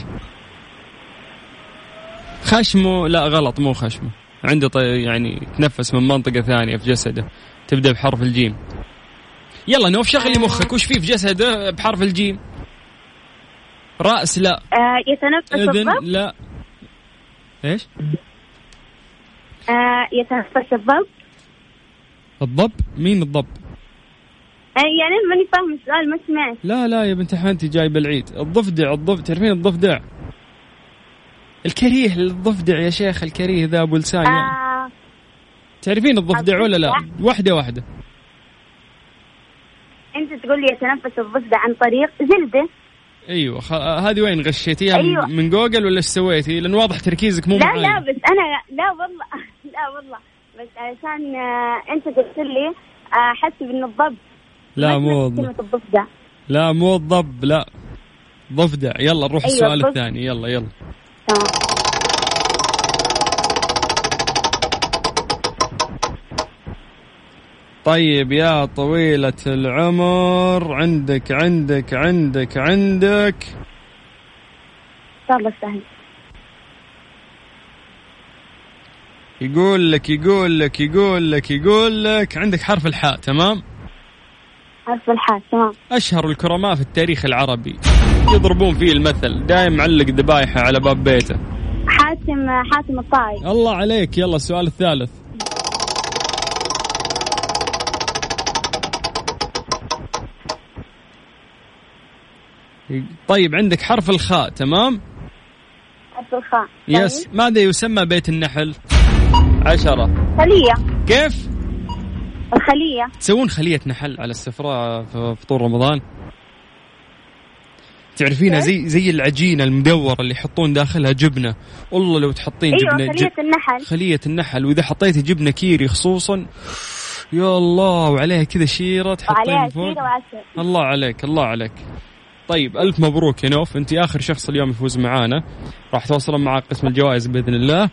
[SPEAKER 2] خشمه لا غلط مو خشمه عنده طي... يعني يتنفس من منطقة ثانية في جسده تبدأ بحرف الجيم يلا نوف شغلي مخك وش في في جسده بحرف الجيم؟ راس لا
[SPEAKER 8] آه يتنفس
[SPEAKER 2] اذن
[SPEAKER 8] الضب
[SPEAKER 2] لا ايش
[SPEAKER 8] آه يتنفس الضب
[SPEAKER 2] الضب مين الضب
[SPEAKER 8] آه يعني ماني فاهم السؤال ما سمعت
[SPEAKER 2] لا لا يا بنت حمد انت جايبه العيد الضفدع الضفدع تعرفين الضفدع الكريه الضفدع يا شيخ الكريه ذا ابو لسان يعني.
[SPEAKER 8] آه
[SPEAKER 2] تعرفين الضفدع ولا لا واحده واحده
[SPEAKER 8] انت تقول لي يتنفس الضفدع عن طريق جلده
[SPEAKER 2] ايوه خ... هذه وين غشيتيها
[SPEAKER 8] أيوة.
[SPEAKER 2] أيوة. من جوجل ولا ايش سويتي لان واضح تركيزك مو
[SPEAKER 8] لا
[SPEAKER 2] معاي.
[SPEAKER 8] لا بس انا لا والله لا والله بس علشان آه انت قلت لي آه حسب ان الضب
[SPEAKER 2] لا
[SPEAKER 8] ما
[SPEAKER 2] مو
[SPEAKER 8] سمعت
[SPEAKER 2] الضب.
[SPEAKER 8] كلمه الضفدع
[SPEAKER 2] لا مو الضب لا ضفدع يلا نروح
[SPEAKER 8] أيوة،
[SPEAKER 2] السؤال
[SPEAKER 8] الضفدع.
[SPEAKER 2] الثاني يلا يلا
[SPEAKER 8] تمام
[SPEAKER 2] طيب يا طويلة العمر عندك عندك عندك عندك
[SPEAKER 8] ان شاء الله سهل
[SPEAKER 2] يقول لك يقول لك يقول لك يقول لك عندك حرف الحاء تمام
[SPEAKER 8] عارف الحال تمام
[SPEAKER 2] أشهر الكرماء في التاريخ العربي يضربون فيه المثل دايم معلق ذبايحة على باب بيته
[SPEAKER 8] حاتم آه، حاتم الطائي
[SPEAKER 2] الله عليك يلا السؤال الثالث طيب عندك حرف الخاء تمام
[SPEAKER 8] حرف الخاء طيب.
[SPEAKER 2] يس ماذا يسمى بيت النحل عشرة
[SPEAKER 8] الخلية
[SPEAKER 2] كيف
[SPEAKER 8] الخلية
[SPEAKER 2] تسوون خلية نحل على السفرة في فطور رمضان
[SPEAKER 8] إيه؟
[SPEAKER 2] تعرفينها زي زي العجينة المدورة اللي يحطون داخلها جبنة والله لو تحطين
[SPEAKER 8] ايوه
[SPEAKER 2] جبنة جب-
[SPEAKER 8] خلية النحل
[SPEAKER 2] خلية النحل وإذا حطيتي جبنة كيري خصوصا يا الله وعليها كذا شيرة تحطين
[SPEAKER 8] وعليها
[SPEAKER 2] فوق
[SPEAKER 8] كثير وعسل
[SPEAKER 2] الله عليك الله عليك طيب ألف مبروك يا نوف أنت آخر شخص اليوم يفوز معانا راح توصلون معاه قسم الجوائز بإذن الله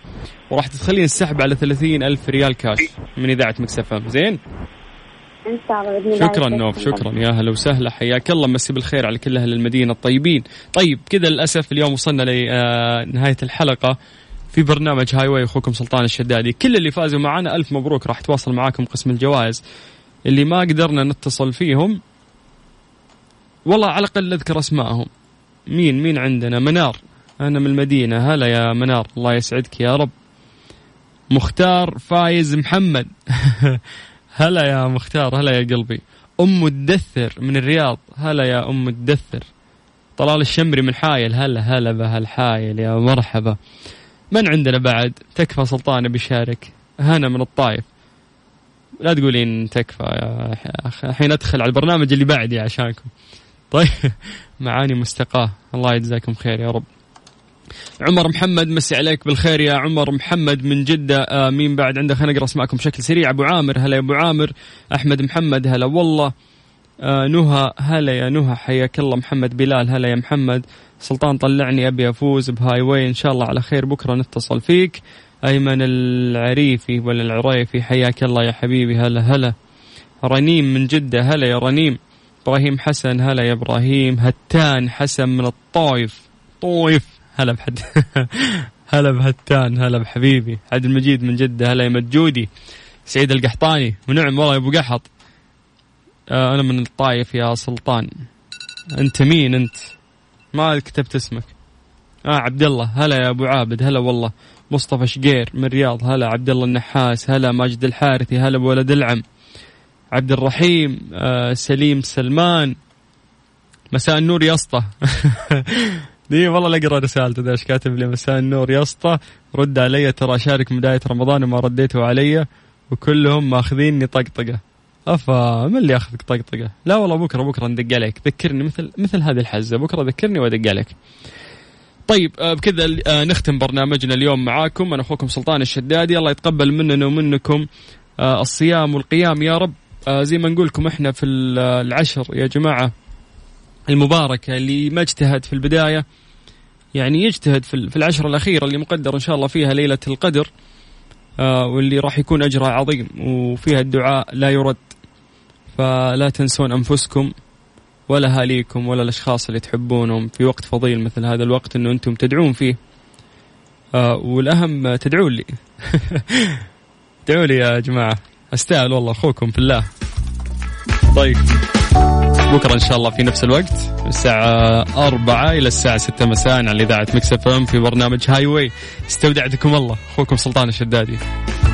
[SPEAKER 2] وراح تدخلين السحب على ثلاثين ألف ريال كاش من إذاعة مكسف أم زين
[SPEAKER 8] ان شاء الله باذن الله
[SPEAKER 2] شكرا
[SPEAKER 8] يسعدك.
[SPEAKER 2] نوف شكرا يا هلا وسهلا حياك الله مسي بالخير على كل اهل المدينه الطيبين طيب كذا للاسف اليوم وصلنا لنهايه الحلقه في برنامج هاي واي اخوكم سلطان الشدادي كل اللي فازوا معنا الف مبروك راح تواصل معاكم قسم الجوائز اللي ما قدرنا نتصل فيهم والله على الاقل اذكر اسمائهم مين مين عندنا منار انا من المدينه هلا يا منار الله يسعدك يا رب مختار فايز محمد هلا يا مختار هلا يا قلبي ام الدثر من الرياض هلا يا ام الدثر طلال الشمري من حايل هلا هلا بهالحايل يا مرحبا من عندنا بعد تكفى سلطان بيشارك هنا من الطايف لا تقولين تكفى يا أخ- الحين ادخل على البرنامج اللي بعدي عشانكم طيب معاني مستقاه الله يجزاكم خير يا رب عمر محمد مسي عليك بالخير يا عمر محمد من جدة آه، مين بعد عنده خلينا نقرا اسماءكم بشكل سريع ابو عامر هلا يا ابو عامر احمد محمد هلا والله آه، نهى هلا يا نهى حياك الله محمد بلال هلا يا محمد سلطان طلعني ابي افوز بهاي واي ان شاء الله على خير بكره نتصل فيك ايمن العريفي ولا العريفي حياك الله يا حبيبي هلا هلا رنيم من جدة هلا يا رنيم ابراهيم حسن هلا يا ابراهيم هتان حسن من الطايف طويف هلا بحد هلا بهتان هلا بحبيبي عبد المجيد من جدة هلا يا مجودي سعيد القحطاني ونعم والله يا ابو قحط آه انا من الطايف يا سلطان انت مين انت ما كتبت اسمك اه عبد الله هلا يا ابو عابد هلا والله مصطفى شقير من الرياض هلا عبد الله النحاس هلا ماجد الحارثي هلا بولد العم عبد الرحيم آه سليم سلمان مساء النور يا اسطى دي والله لا اقرا رسالته ذا ايش كاتب لي مساء النور يا اسطى رد علي ترى شارك من بدايه رمضان وما رديته علي وكلهم ماخذيني طقطقه افا من اللي ياخذك طقطقه؟ لا والله بكره بكره ندق عليك ذكرني مثل مثل هذه الحزه بكره ذكرني وادق عليك. طيب آه، بكذا آه، نختم برنامجنا اليوم معاكم انا اخوكم سلطان الشدادي الله يتقبل مننا ومنكم آه، الصيام والقيام يا رب آه، زي ما نقولكم احنا في ال- آه، العشر يا جماعه المباركه اللي ما اجتهد في البدايه يعني يجتهد في ال- في العشرة الأخيرة اللي مقدر إن شاء الله فيها ليلة القدر آه، واللي راح يكون أجرها عظيم وفيها الدعاء لا يرد فلا تنسون أنفسكم ولا أهاليكم ولا الأشخاص اللي تحبونهم في وقت فضيل مثل هذا الوقت أنه أنتم تدعون فيه آه، والأهم آه، تدعون لي ادعوا لي يا جماعة أستاهل والله أخوكم في الله طيب بكرة إن شاء الله في نفس الوقت من الساعة أربعة إلى الساعة ستة مساء على إذاعة مكسف أم في برنامج هاي واي استودعتكم الله أخوكم سلطان الشدادي